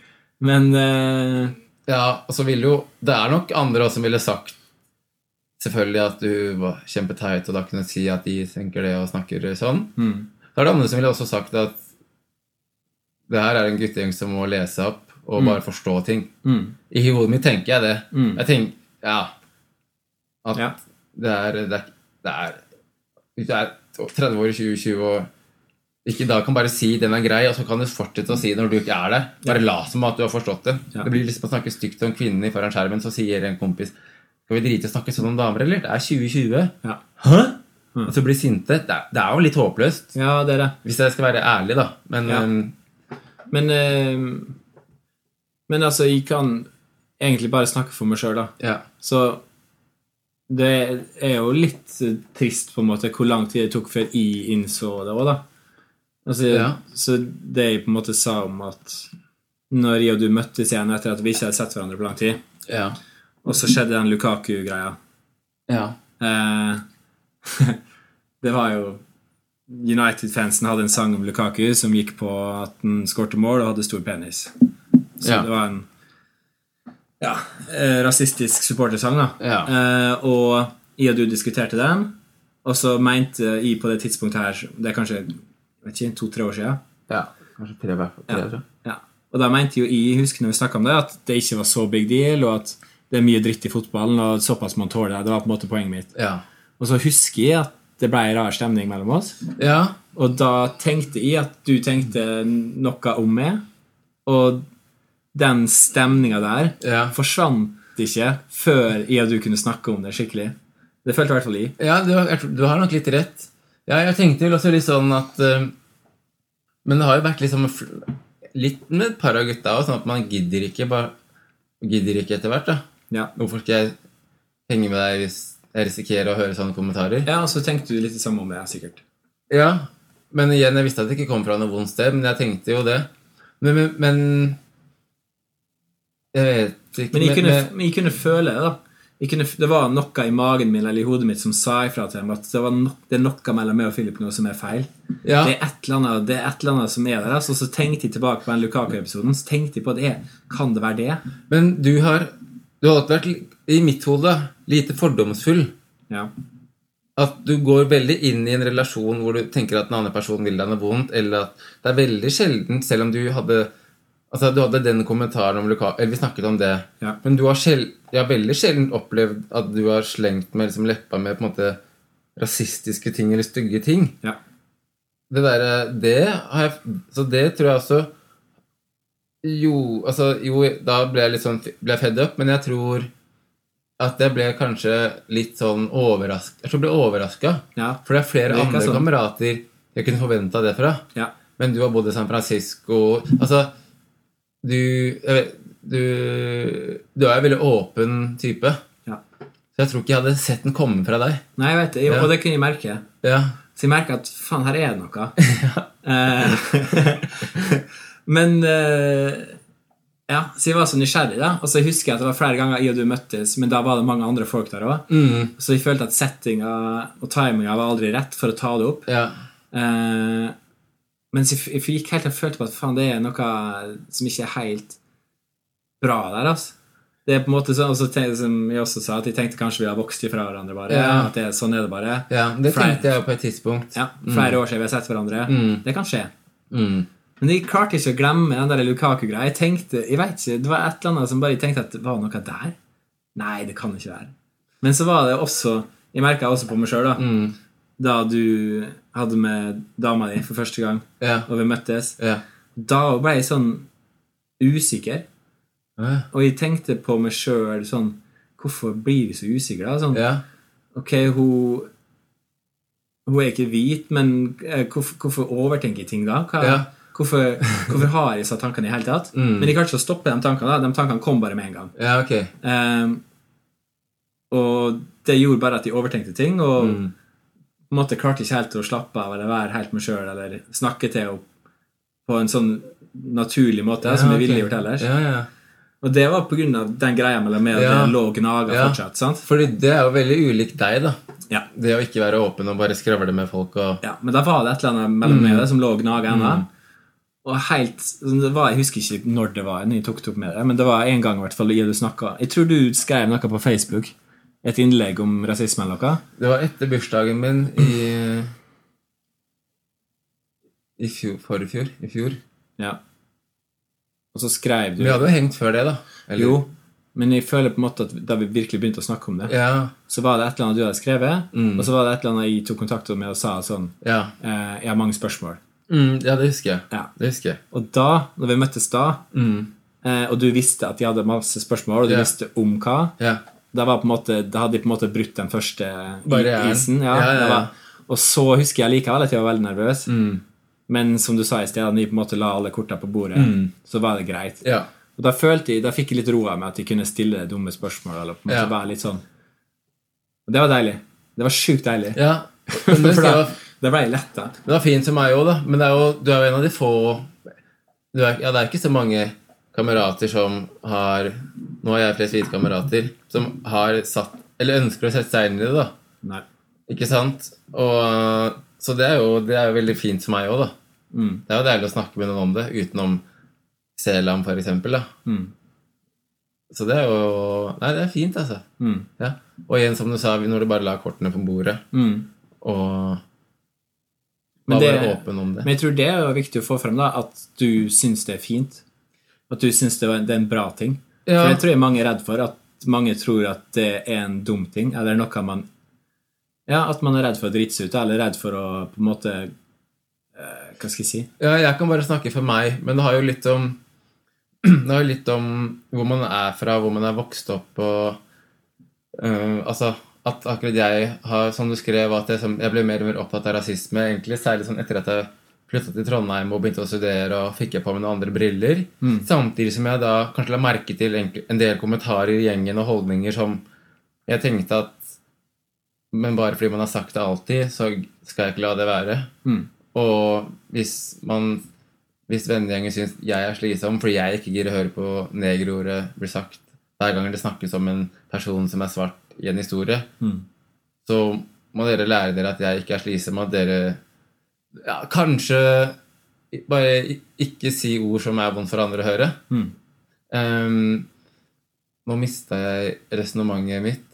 Speaker 1: Men eh,
Speaker 2: ja, og så ville jo Det er nok andre også som ville sagt selvfølgelig at du var kjempeteit, og da kunne du si at de tenker det og snakker sånn.
Speaker 1: mm,
Speaker 2: Da er det andre som ville også sagt at det her er en guttegjeng som må lese opp og bare
Speaker 1: Mm.
Speaker 2: forstå ting. I hodet mitt tenker jeg det. Jeg tenker Ja. At
Speaker 1: Ja.
Speaker 2: det er Det er, det er, det er 30 år i 2020 og ikke da kan bare si den er grei, og så kan du fortsette å si det når du ikke er der. Bare lat som at du har forstått det.
Speaker 1: Ja.
Speaker 2: Det blir liksom å snakke stygt om kvinnene foran skjermen, så sier en kompis Skal vi drite i å snakke sånn om damer, eller? Det er 2020.
Speaker 1: ja.
Speaker 2: Hæ? Og så blir sinte. Det er, det er jo litt håpløst.
Speaker 1: ja, det er det.
Speaker 2: Hvis jeg skal være ærlig, da. Men um,
Speaker 1: Ja.
Speaker 2: øhm,
Speaker 1: Men eh, Men altså, jeg kan egentlig bare snakke for meg sjøl, da.
Speaker 2: ja.
Speaker 1: Så det er jo litt eh, trist på en måte hvor lang tid det tok før jeg innså det òg, da. Altså,
Speaker 2: Ja.
Speaker 1: Så det jeg på en måte sa om at når jeg og du møttes igjen etter at vi ikke hadde sett hverandre på lang tid,
Speaker 2: Ja.
Speaker 1: og så skjedde den Lukaku-greia
Speaker 2: ja.
Speaker 1: eh, [laughs] Det var jo United-fansen hadde en sang om Lukaku som gikk på at han skårte mål og hadde stor penis. Så
Speaker 2: Ja.
Speaker 1: det var en ja, eh, rasistisk supportersang, da.
Speaker 2: Ja.
Speaker 1: Eh, og jeg og du diskuterte den, og Og så mente jeg på det tidspunktet her Det er kanskje jeg vet ikke, to-tre år siden.
Speaker 2: Ja, kanskje tre hver. Tre, tror jeg.
Speaker 1: Ja. Og da mente jo jeg, husker når vi snakket om det, at det ikke var så big deal, og at det er mye dritt i fotballen, og såpass man tåler det. Det var på en måte poenget mitt.
Speaker 2: Ja.
Speaker 1: Og så husker jeg at det ble en rar stemning mellom oss.
Speaker 2: ja.
Speaker 1: Og da tenkte jeg at du tenkte noe om meg, og den stemninga der
Speaker 2: Ja.
Speaker 1: forsvant ikke før jeg og du kunne snakke om det skikkelig. Det følte i hvert fall jeg.
Speaker 2: Ja, du, har- jeg tror- du har nok litt rett. Ja, jeg tenkte vel også litt sånn at eh, Men det har jo vært litt sånn med fl- Litt med et par av gutta òg, sånn at man gidder ikke bare Gidder ikke etter hvert, da.
Speaker 1: Ja.
Speaker 2: Hvorfor skal jeg henge med deg hvis jeg risikerer å høre sånne kommentarer?
Speaker 1: ja, og så tenkte du litt det samme om det, sikkert.
Speaker 2: Ja, men igjen, jeg visste at det ikke kom fra noe vondt sted, men jeg tenkte jo det. Men, men, men Jeg vet ikke
Speaker 1: Men jeg
Speaker 2: men-
Speaker 1: kunne,
Speaker 2: men-
Speaker 1: men jeg kunne føle det, da. Jeg kunne, det var noe i magen min eller i hodet mitt som sa ifra til dem at det, var no, det er noe mellom meg og Philip nå som er feil.
Speaker 2: ja.
Speaker 1: Det, er et eller annet, det er et eller annet som er der. Altså, så tenkte jeg tilbake på den Lukaku-episoden. Så tenkte jeg på det. Kan det være det?
Speaker 2: Men du har Du har alltid vært, i mitt hode, lite fordomsfull.
Speaker 1: Ja.
Speaker 2: At du går veldig inn i en relasjon hvor du tenker at den andre personen vil deg noe vondt, eller at det er veldig sjelden, selv om du hadde Altså, du hadde den kommentaren om Luka... Eller vi snakket om det.
Speaker 1: Ja.
Speaker 2: Men du har, sjel, jeg har veldig sjelden opplevd at du har slengt med liksom, leppa med på en måte rasistiske ting eller stygge ting.
Speaker 1: ja.
Speaker 2: Det derre Det har jeg Så det tror jeg også Jo, altså Jo, da ble jeg litt sånn Ble jeg fed up, men jeg tror at jeg ble kanskje litt sånn overrasket Jeg tror jeg ble overraska.
Speaker 1: Ja.
Speaker 2: For det er flere
Speaker 1: Det virker
Speaker 2: andre
Speaker 1: sånn.
Speaker 2: kamerater jeg kunne forventa det fra.
Speaker 1: ja.
Speaker 2: Men du har bodd i San Francisco Altså, du jeg vet, Du, du er en veldig åpen type.
Speaker 1: ja.
Speaker 2: Så jeg tror ikke jeg hadde sett den komme fra deg.
Speaker 1: Nei, jeg vet det. Og det kunne jeg merke.
Speaker 2: Ja.
Speaker 1: Så jeg merker at faen, her er det noe. Eh, [laughs] Men eh, Ja, så jeg var så nysgjerrig, da. Og så husker jeg at det var flere ganger jeg og du møttes, men da var det mange andre folk der òg. Så jeg følte at settinga og timinga var aldri rett for å ta det opp.
Speaker 2: ja.
Speaker 1: Eh, mens jeg, f- jeg gikk helt og følte på at faen, det er noe som ikke er helt bra der, altså. Det er på en måte sånn, og så ten- som jeg også sa, at jeg tenkte kanskje vi har vokst ifra hverandre, bare.
Speaker 2: Ja.
Speaker 1: At det, er- sånn er det bare.
Speaker 2: ja det
Speaker 1: Flere-
Speaker 2: tenkte jeg jo på et tidspunkt.
Speaker 1: ja, flere år siden vi har sett hverandre. Det kan skje.
Speaker 2: Mm.
Speaker 1: Men jeg klarte ikke å glemme den der Lukaku-greia. Jeg tenkte, jeg vet ikke, Det var et eller annet som bare jeg tenkte at det var noe der. Nei, det kan ikke være. Men så var det også Jeg merka også på meg sjøl, da.
Speaker 2: Mm.
Speaker 1: Da du hadde med dama di for første gang,
Speaker 2: Ja.
Speaker 1: og vi møttes,
Speaker 2: Ja.
Speaker 1: da ble jeg sånn usikker.
Speaker 2: Ja.
Speaker 1: Og jeg tenkte på meg sjøl sånn Hvorfor blir vi så usikre? da? Sånn,
Speaker 2: Ja.
Speaker 1: Ok, hun Hun er ikke hvit, men eh, hvorfor, hvorfor overtenker jeg ting da? Hva,
Speaker 2: Ja.
Speaker 1: hvorfor, hvorfor har jeg disse tankene i hele tatt? Men jeg klarte ikke å stoppe de tankene. da De tankene kom bare med en gang.
Speaker 2: ja, ok.
Speaker 1: Ehm, og det gjorde bare at jeg overtenkte ting, og
Speaker 2: Mm.
Speaker 1: på en måte klarte ikke helt å slappe av eller være helt meg sjøl eller snakke til henne på en sånn naturlig måte som jeg
Speaker 2: ok.
Speaker 1: ville gjort ellers.
Speaker 2: Ja, ja.
Speaker 1: Og det var på grunn av den greia mellom meg og
Speaker 2: Ja.
Speaker 1: det lå og gnaga
Speaker 2: Ja.
Speaker 1: fortsatt. sant?
Speaker 2: Fordi det er jo veldig ulikt deg, da.
Speaker 1: Ja.
Speaker 2: Det å ikke være åpen og bare skravle med folk og
Speaker 1: Ja, men da var det et eller annet
Speaker 2: Mm.
Speaker 1: mellom meg og det som lå og gnaga ennå. Og helt, sånn, det var, Jeg husker ikke når det var, når jeg tok det opp med det, men det var en gang i hvert fall jeg, du snakket- jeg tror du skrev noe på Facebook. Et innlegg om rasisme eller noe.
Speaker 2: Det var etter bursdagen min i I fjor, forrige fjor. I fjor.
Speaker 1: Ja. Og så skrev du
Speaker 2: Vi hadde jo hengt før det, da. Eller-
Speaker 1: Jo, men jeg føler på en måte at da vi virkelig begynte å snakke om det,
Speaker 2: Ja.
Speaker 1: så var det et eller annet du hadde skrevet, og så var det et eller annet jeg tok kontakt med og sa sånn
Speaker 2: Ja.
Speaker 1: eh, Jeg har mange spørsmål.
Speaker 2: Mm, ja, det husker jeg.
Speaker 1: Ja.
Speaker 2: Det husker jeg.
Speaker 1: Og da, når vi møttes da, eh, og du visste at jeg hadde masse spørsmål, og du
Speaker 2: Ja.
Speaker 1: visste om hva
Speaker 2: Ja.
Speaker 1: Da, var på en måte, da hadde jeg på en måte brutt den første i-
Speaker 2: Barrieren.
Speaker 1: isen. Ja,
Speaker 2: Ja, ja, ja.
Speaker 1: det Var, og så husker jeg likevel at jeg var veldig nervøs. Men som du sa i sted, når jeg på en måte la alle kortene på bordet, så var det greit.
Speaker 2: ja.
Speaker 1: Og da følte jeg, da fikk jeg litt ro av meg at jeg kunne stille dumme spørsmål. Eller på en måte
Speaker 2: Ja.
Speaker 1: være litt sånn Og det var deilig. Det var sjukt deilig.
Speaker 2: [laughs] ja. Men
Speaker 1: [laughs]
Speaker 2: det,
Speaker 1: For da,
Speaker 2: skal,
Speaker 1: da ble jeg letta.
Speaker 2: det var fint for meg òg, da. Men det er jo, du er jo en av de få du er, Ja, det er ikke så mange kamerater som har Nå har jeg flest hvite kamerater som har satt Eller ønsker å sette seg inn i det, da.
Speaker 1: Nei.
Speaker 2: Ikke sant? Og, så det er, jo, det er jo veldig fint for meg òg, da.
Speaker 1: Mm.
Speaker 2: Det er jo deilig å snakke med noen om det, utenom Selam, for eksempel. Da.
Speaker 1: Mm.
Speaker 2: Så det
Speaker 1: Mm.
Speaker 2: er jo Nei, det er fint, altså. Ja. Og igjen, som du sa, når du bare la kortene på bordet, og
Speaker 1: Mm. Men
Speaker 2: var
Speaker 1: det-
Speaker 2: bare åpen om det.
Speaker 1: Men jeg tror det er jo viktig å få frem, da, at du syns det er fint. At du syns det var- det er en bra ting.
Speaker 2: Ja.
Speaker 1: For jeg tror jeg mange er redd for at mange tror at det er en dum ting, eller noe man Ja, at man er redd for å drite seg ut, eller redd for å på en måte eh, Hva skal jeg si?
Speaker 2: Ja, jeg kan bare snakke for meg, men det har jo litt om [clears throat] Det har jo litt om hvor man er fra, hvor man er vokst opp og eh, Altså at akkurat jeg har, som du skrev, at jeg, som, jeg ble mer og mer opptatt av rasisme, egentlig, særlig sånn etter at jeg flytta til Trondheim og begynte å studere og fikk jeg på meg noen andre briller. Samtidig som jeg da kanskje la merke til enkel- en del kommentarer i gjengen og holdninger som jeg tenkte at Men bare fordi man har sagt det alltid, så skal jeg ikke la det være. Og hvis man Hvis vennegjengen syns jeg er slitsom fordi jeg ikke gidder å høre på negerordet blir sagt hver gang det snakkes om en person som er svart i en historie, så må dere lære dere at jeg ikke er slitsom, at dere ja, kanskje bare i- ikke si ord som er vondt for andre å høre. Ehm, nå mista jeg resonnementet mitt.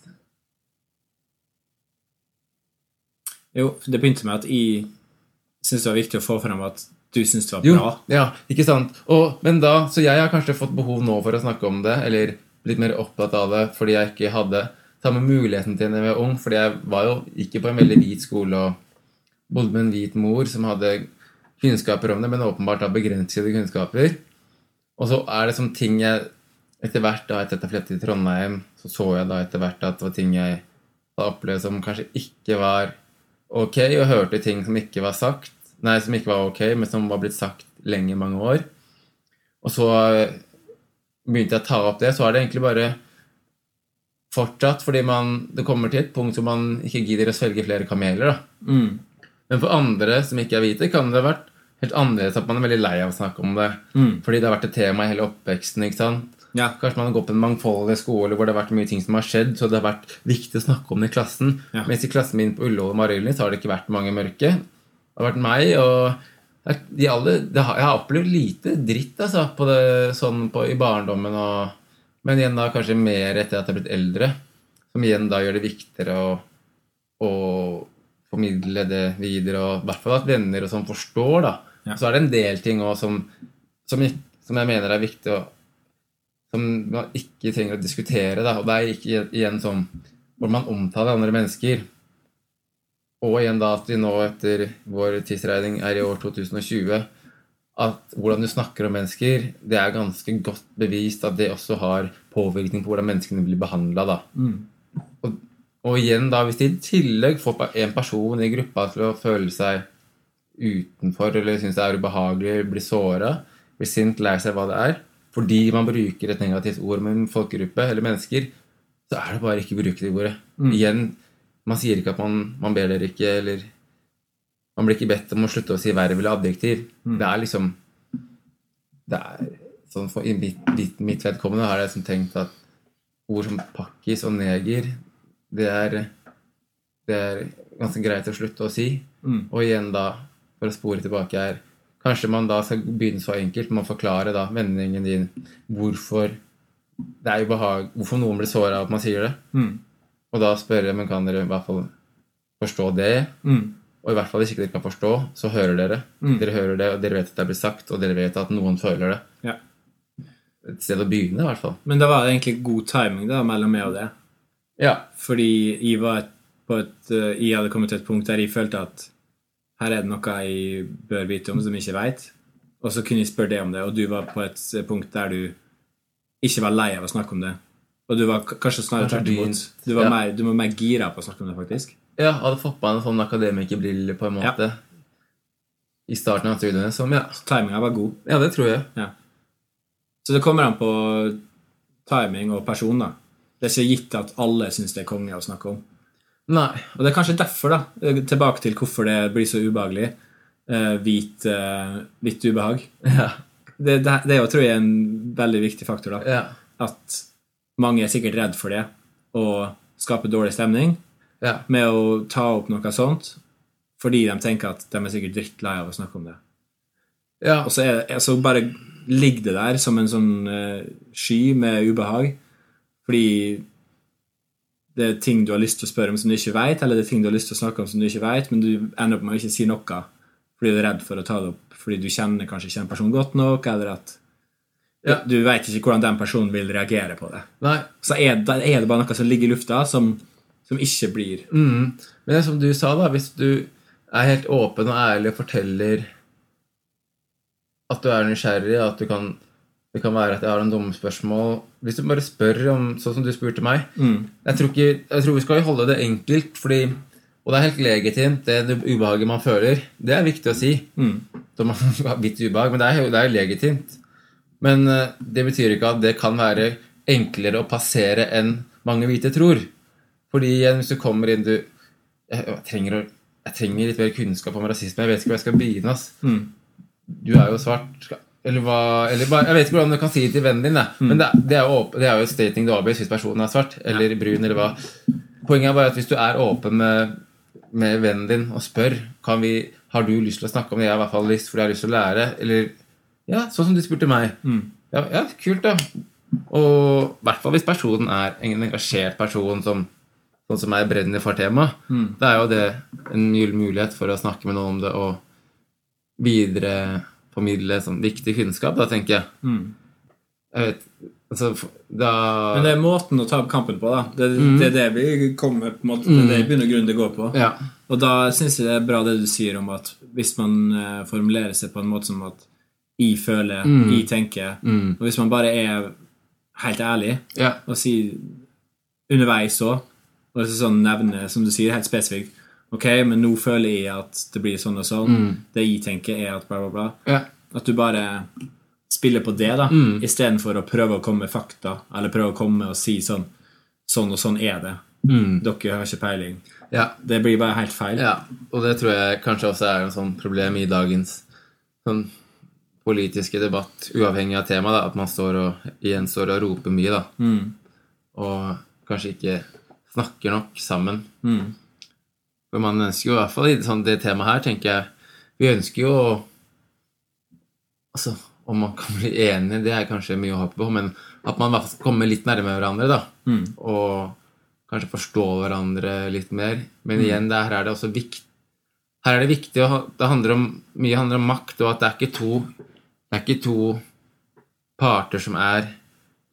Speaker 1: Jo, det begynte med at jeg syns det var viktig å få frem at du syns det var
Speaker 2: Jo,
Speaker 1: bra.
Speaker 2: ja, ikke sant. Og, men da, så jeg har kanskje fått behov nå for å snakke om det, eller blitt mer opptatt av det fordi jeg ikke hadde samme muligheten til det da jeg var ung. Fordi jeg var jo ikke på en veldig hvit skole og bodde med en hvit mor som hadde kunnskaper om det, men åpenbart har begrensede kunnskaper. Og så er det som ting jeg etter hvert da, etter at jeg flyttet til Trondheim, så så jeg da etter hvert at det var ting jeg da opplevde som kanskje ikke var ok, og hørte ting som ikke var sagt, nei, som ikke var ok, men som var blitt sagt lenge, mange år. Og så eh, begynte jeg å ta opp det, så er det egentlig bare fortsatt, fordi man, det kommer til et punkt hvor man ikke gidder å svelge flere kameler, da.
Speaker 1: Mm.
Speaker 2: Men for andre som ikke er hvite, kan det ha vært helt annerledes at man er veldig lei av å snakke om det.
Speaker 1: Mm.
Speaker 2: Fordi det har vært et tema i hele oppveksten. ikke sant?
Speaker 1: Ja.
Speaker 2: Kanskje man har gått på en mangfoldig skole hvor det har vært mye ting som har skjedd, så det har vært viktig å snakke om det i klassen.
Speaker 1: Ja.
Speaker 2: Mens i klassen min på Ullevål og Marienlyst har det ikke vært mange mørke. Det har vært meg, og det er- de alle, det har, jeg har opplevd lite dritt altså, på det, sånn på, i barndommen. Og, men igjen da kanskje mer etter at jeg har blitt eldre, som igjen da gjør det viktigere å, å formidle det videre. Og i hvert fall at venner og sånn forstår, da.
Speaker 1: Ja.
Speaker 2: Så er det en del ting òg som, som, ikk- som jeg mener er viktig å som man ikke trenger å diskutere. Da. Og det er ikke igjen sånn hvor man omtaler andre mennesker. Og igjen da at vi nå etter vår tidsregning er i år 2020 at hvordan du snakker om mennesker, det er ganske godt bevist at det også har påvirkning på hvordan menneskene blir behandla, da. Og, og igjen, da, hvis de i tillegg får pa- en person i gruppa til å føle seg utenfor eller syns det er ubehagelig, blir såra, blir sint, lei seg hva det er, fordi man bruker et negativt ord med en folkegruppe eller mennesker, så er det bare ikke å bruke det ordet. Igjen, man sier ikke at man, man ber dere ikke, eller man blir ikke bedt om å slutte å si verv eller adjektiv. Det er liksom det er sånn for, I mitt, mitt, mitt vedkommende har jeg liksom tenkt at ord som pakkis og neger, det er, det er ganske greit å slutte å si. Og igjen da, for å spore tilbake her, kanskje man da skal begynne så enkelt med å forklare da vendingen din hvorfor det er ubehag, hvorfor noen blir såra av at man sier det.
Speaker 1: Mm.
Speaker 2: Og da spørre men kan dere i hvert fall forstå det.
Speaker 1: Mm.
Speaker 2: Og i hvert fall hvis ikke dere kan forstå, så hører dere. Dere hører det, og dere vet at det blir sagt, og dere vet at noen føler det.
Speaker 1: ja.
Speaker 2: Et sted å begynne, i hvert fall.
Speaker 1: Men da var det egentlig god timing da, mellom meg og det.
Speaker 2: Ja.
Speaker 1: Fordi jeg, var et, på et, eh, jeg hadde kommet til et punkt der jeg følte at her er det noe jeg bør vite om som jeg ikke veit. Og så kunne jeg spørre deg om det, og du var på et eh, punkt der du ikke var lei av å snakke om det. Og du var k- kanskje snarere
Speaker 2: Kanskje
Speaker 1: tvert imot.
Speaker 2: begynt,
Speaker 1: Du, var
Speaker 2: ja.
Speaker 1: mer- du var mer gira på å snakke om det, faktisk.
Speaker 2: Ja, hadde fått på meg en sånn akademikerbrille på en måte i starten av studiene. Som, ja.
Speaker 1: Timinga var god.
Speaker 2: ja, det tror jeg.
Speaker 1: Ja. Så det kommer an på timing og person, da. Det er ikke gitt at alle syns det er konge å snakke om.
Speaker 2: Nei.
Speaker 1: Og det er kanskje derfor, da, eh, tilbake til hvorfor det blir så ubehagelig, eh, hvit, eh, hvitt ubehag.
Speaker 2: Ja.
Speaker 1: Det, det, det er jo, tror jeg, en veldig viktig faktor, da.
Speaker 2: ja.
Speaker 1: At mange er sikkert redd for det, og skaper dårlig stemning
Speaker 2: ja.
Speaker 1: med å ta opp noe sånt, fordi de tenker at de er sikkert drittlei av å snakke om det.
Speaker 2: ja.
Speaker 1: Og så, er, er- så bare ligger det der som en sånn eh, sky med ubehag, fordi det er ting du har lyst til å spørre om som du ikke vet, eller det er ting du har lyst til å snakke om som du ikke vet, men du ender opp med å ikke si noe fordi du er redd for å ta det opp fordi du kjenner kanskje ikke en person godt nok, eller at
Speaker 2: Ja.
Speaker 1: du vet ikke hvordan den personen vil reagere på det.
Speaker 2: Nei,
Speaker 1: Så er, da er det bare noe som ligger i lufta, som, som ikke blir
Speaker 2: Mm. Men det er som du sa, da, hvis du er helt åpen og ærlig og forteller at du er nysgjerrig, at du kan det kan være at jeg har en dumme spørsmål. Hvis du bare spør om sånn som du spurte meg jeg, tror ikke, jeg tror vi skal holde det enkelt, fordi, og det er helt legitimt. Det, det ubehaget man føler, det er viktig å si. Så man [laughs] har litt ubehag, men det er, jo- det er jo legitimt. Men eh, det betyr ikke at det kan være enklere å passere enn mange hvite tror. Fordi igjen, hvis du kommer inn du, jeg, jeg, trenger, å- jeg trenger litt mer kunnskap om rasisme. Jeg vet ikke hvor jeg skal begynne. ass. Du er jo svart. skal- Eller hva eller bare, Jeg vet ikke hvordan du kan si det til vennen din. da. Men det, er- det, er jo, åp- det er jo et stating du avbøyer hvis personen er svart eller brun. eller hva. Poenget er bare at hvis du er åpen med, med vennen din og spør kan vi, har du lyst til å snakke om det, jeg har i hvert fall lyst, fordi jeg har lyst til å lære eller, ja, Sånn som du spurte meg.
Speaker 1: Mm.
Speaker 2: Ja, ja, kult, da. Og i hvert fall hvis personen er en engasjert person som sånn som jeg brenner for temaet,
Speaker 1: Mm.
Speaker 2: da er jo det en gyllen mulighet for å snakke med noen om det og videreformidle sånn viktig kunnskap, da, tenker jeg.
Speaker 1: Mm.
Speaker 2: Jeg vet Altså, f- da
Speaker 1: Men det er måten å ta opp kampen på, da. Det, det er det vi kommer med, på en måte. Det er det i bunn og grunn det går på.
Speaker 2: Ja.
Speaker 1: Og da syns jeg det er bra det du sier om at hvis man eh, formulerer seg på en måte som at jeg føler, jeg tenker Og hvis man bare er helt ærlig
Speaker 2: mm. ja.
Speaker 1: og sier underveis òg, og så sånn nevner, som du sier, helt spesifikt Ok, men nå føler jeg at det blir sånn og sånn. Det jeg tenker, er at bla, bla, bla.
Speaker 2: ja.
Speaker 1: At du bare spiller på det, da, istedenfor å prøve å komme med fakta, eller prøve å komme og si sånn Sånn og sånn er det. Dere har ikke peiling.
Speaker 2: ja.
Speaker 1: Det blir bare helt feil.
Speaker 2: Ja, og det tror jeg kanskje også er et sånn problem i dagens sånn politiske debatt, uavhengig av tema, da, at man står og, igjen står og roper mye, da. Og kanskje ikke snakker nok sammen. For man ønsker jo i hvert fall i sånn, det temaet her, tenker jeg Vi ønsker jo å Altså, om man kan bli enig, det er kanskje mye å håpe på, men at man i hvert fall kommer litt nærmere hverandre, da. Og kanskje forstå hverandre litt mer. Men igjen, det her er det også viktig Her er det viktig å ha Det handler om mye handler om makt, og at det er ikke to Det er ikke to parter som er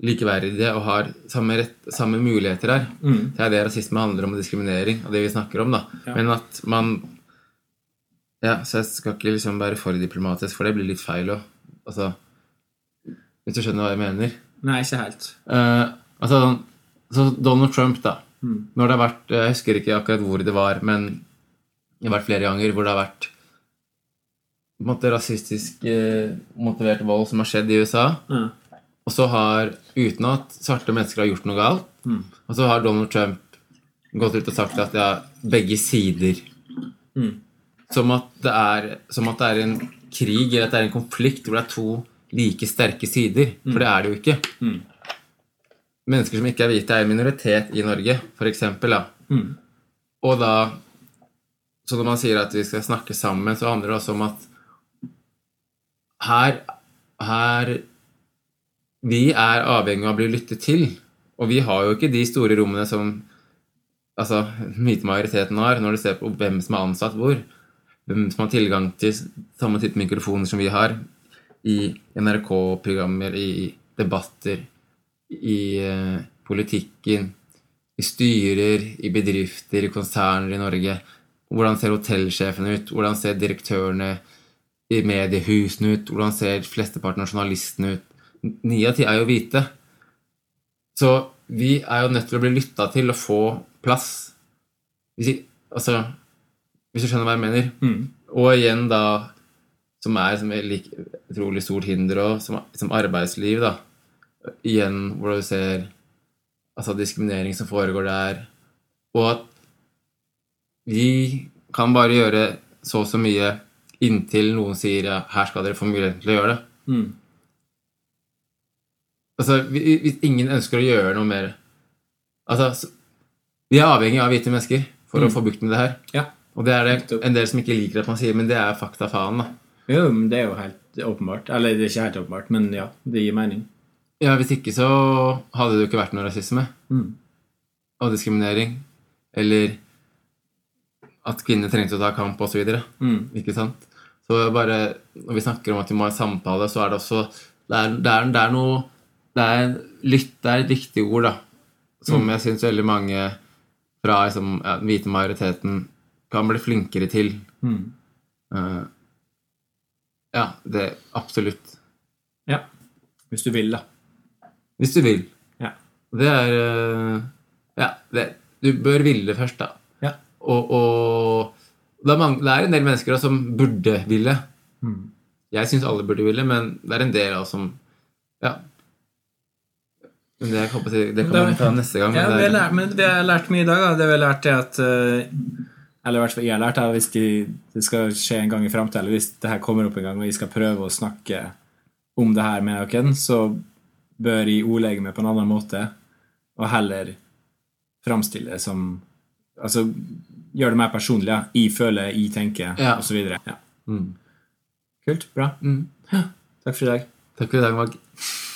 Speaker 2: likeverdige og har samme, rett, samme muligheter her.
Speaker 1: Mm.
Speaker 2: Det er det rasisme handler om, og diskriminering, og det vi snakker om, da. Men at man Ja, så jeg skal ikke liksom være for diplomatisk, for det blir litt feil òg. Altså Hvis du skjønner hva jeg mener?
Speaker 1: Nei, ikke helt.
Speaker 2: Eh, altså, så Donald Trump, da. Når det har vært Jeg husker ikke akkurat hvor det var, men det har vært flere ganger hvor det har vært på en måte, rasistisk eh, motivert vold som har skjedd i USA.
Speaker 1: Ja.
Speaker 2: Og så har, uten at svarte mennesker har gjort noe galt, og så har Donald Trump gått ut og sagt at ja, begge sider som, at det er, som at det er en krig eller at det er en konflikt hvor det er to like sterke sider. For det er det jo ikke. Mennesker som ikke er hvite, er en minoritet i Norge, f.eks. Og da Så når man sier at vi skal snakke sammen, så handler det også om at her, her vi er avhengig av å bli lyttet til. Og vi har jo ikke de store rommene som altså, hvite majoriteten har, når du ser på hvem som er ansatt hvor. Hvem som har tilgang til samme type mikrofoner som vi har i NRK-programmer, i debatter, i eh, politikken, i styrer, i bedrifter, i konserner i Norge. Hvordan ser hotellsjefene ut? Hvordan ser direktørene i mediehusene ut? Hvordan ser flesteparten av journalistene ut? Ni av ti er jo hvite. Så vi er jo nødt til å bli lytta til og få plass. Hvis, i- altså, hvis du skjønner hva jeg mener.
Speaker 1: Mm.
Speaker 2: Og igjen, da, som er som et lik- utrolig stort hinder òg, som, som arbeidsliv, da. Igjen hvor du ser altså, diskriminering som foregår der. Og at vi kan bare gjøre så og så mye inntil noen sier ja, her skal dere få muligheten til å gjøre det.
Speaker 1: Mm.
Speaker 2: Altså, vi- Hvis ingen ønsker å gjøre noe mer Altså, så- Vi er avhengig av hvite mennesker for å få bukt med det her.
Speaker 1: ja.
Speaker 2: Og det er det en del som ikke liker at man sier, men det er fakta faen, da.
Speaker 1: Jo, men det er jo helt åpenbart. Eller det er ikke helt åpenbart, men ja, det gir mening. Mm.
Speaker 2: Ja, Hvis ikke så hadde det jo ikke vært noe rasisme. og diskriminering, eller at kvinner trengte å ta kamp osv.
Speaker 1: Mm.
Speaker 2: Ikke sant? Så bare, Når vi snakker om at vi må ha samtale, så er det også Det er, det er, det er noe det er, lytt, det er et viktig ord, da. Som
Speaker 1: Mm.
Speaker 2: jeg syns veldig mange fra liksom, ja, den hvite majoriteten kan bli flinkere til.
Speaker 1: Mm.
Speaker 2: Eh, ja, det absolutt.
Speaker 1: Ja. Hvis du vil, da.
Speaker 2: Hvis du vil.
Speaker 1: Ja.
Speaker 2: Det er eh, Ja, det, du bør ville først, da.
Speaker 1: Ja.
Speaker 2: Og, og det, er mange, det er en del mennesker også som burde ville.
Speaker 1: Mm.
Speaker 2: Jeg syns alle burde ville, men det er en del av oss som Ja. Men det, jeg håper, å si- det kan
Speaker 1: Det-
Speaker 2: man ta neste gang.
Speaker 1: Ja,
Speaker 2: men
Speaker 1: vi
Speaker 2: det
Speaker 1: har
Speaker 2: er,
Speaker 1: lært, men vi har lært mye i dag. Da. Det vi har lært er at eh, Eller i hvert fall jeg har lært er at hvis de, det skal skje en gang i framtida, eller hvis det her kommer opp en gang og jeg skal prøve å snakke om det her med dere, så bør jeg ordlegge meg på en annen måte og heller framstille det som Altså gjøre det mer personlig. Ja. Jeg føler, jeg tenker,
Speaker 2: Ja.
Speaker 1: og osv. Ja.
Speaker 2: Mm.
Speaker 1: Kult. Bra.
Speaker 2: Mm.
Speaker 1: Takk for i dag.
Speaker 2: Takk for i dag, Mag.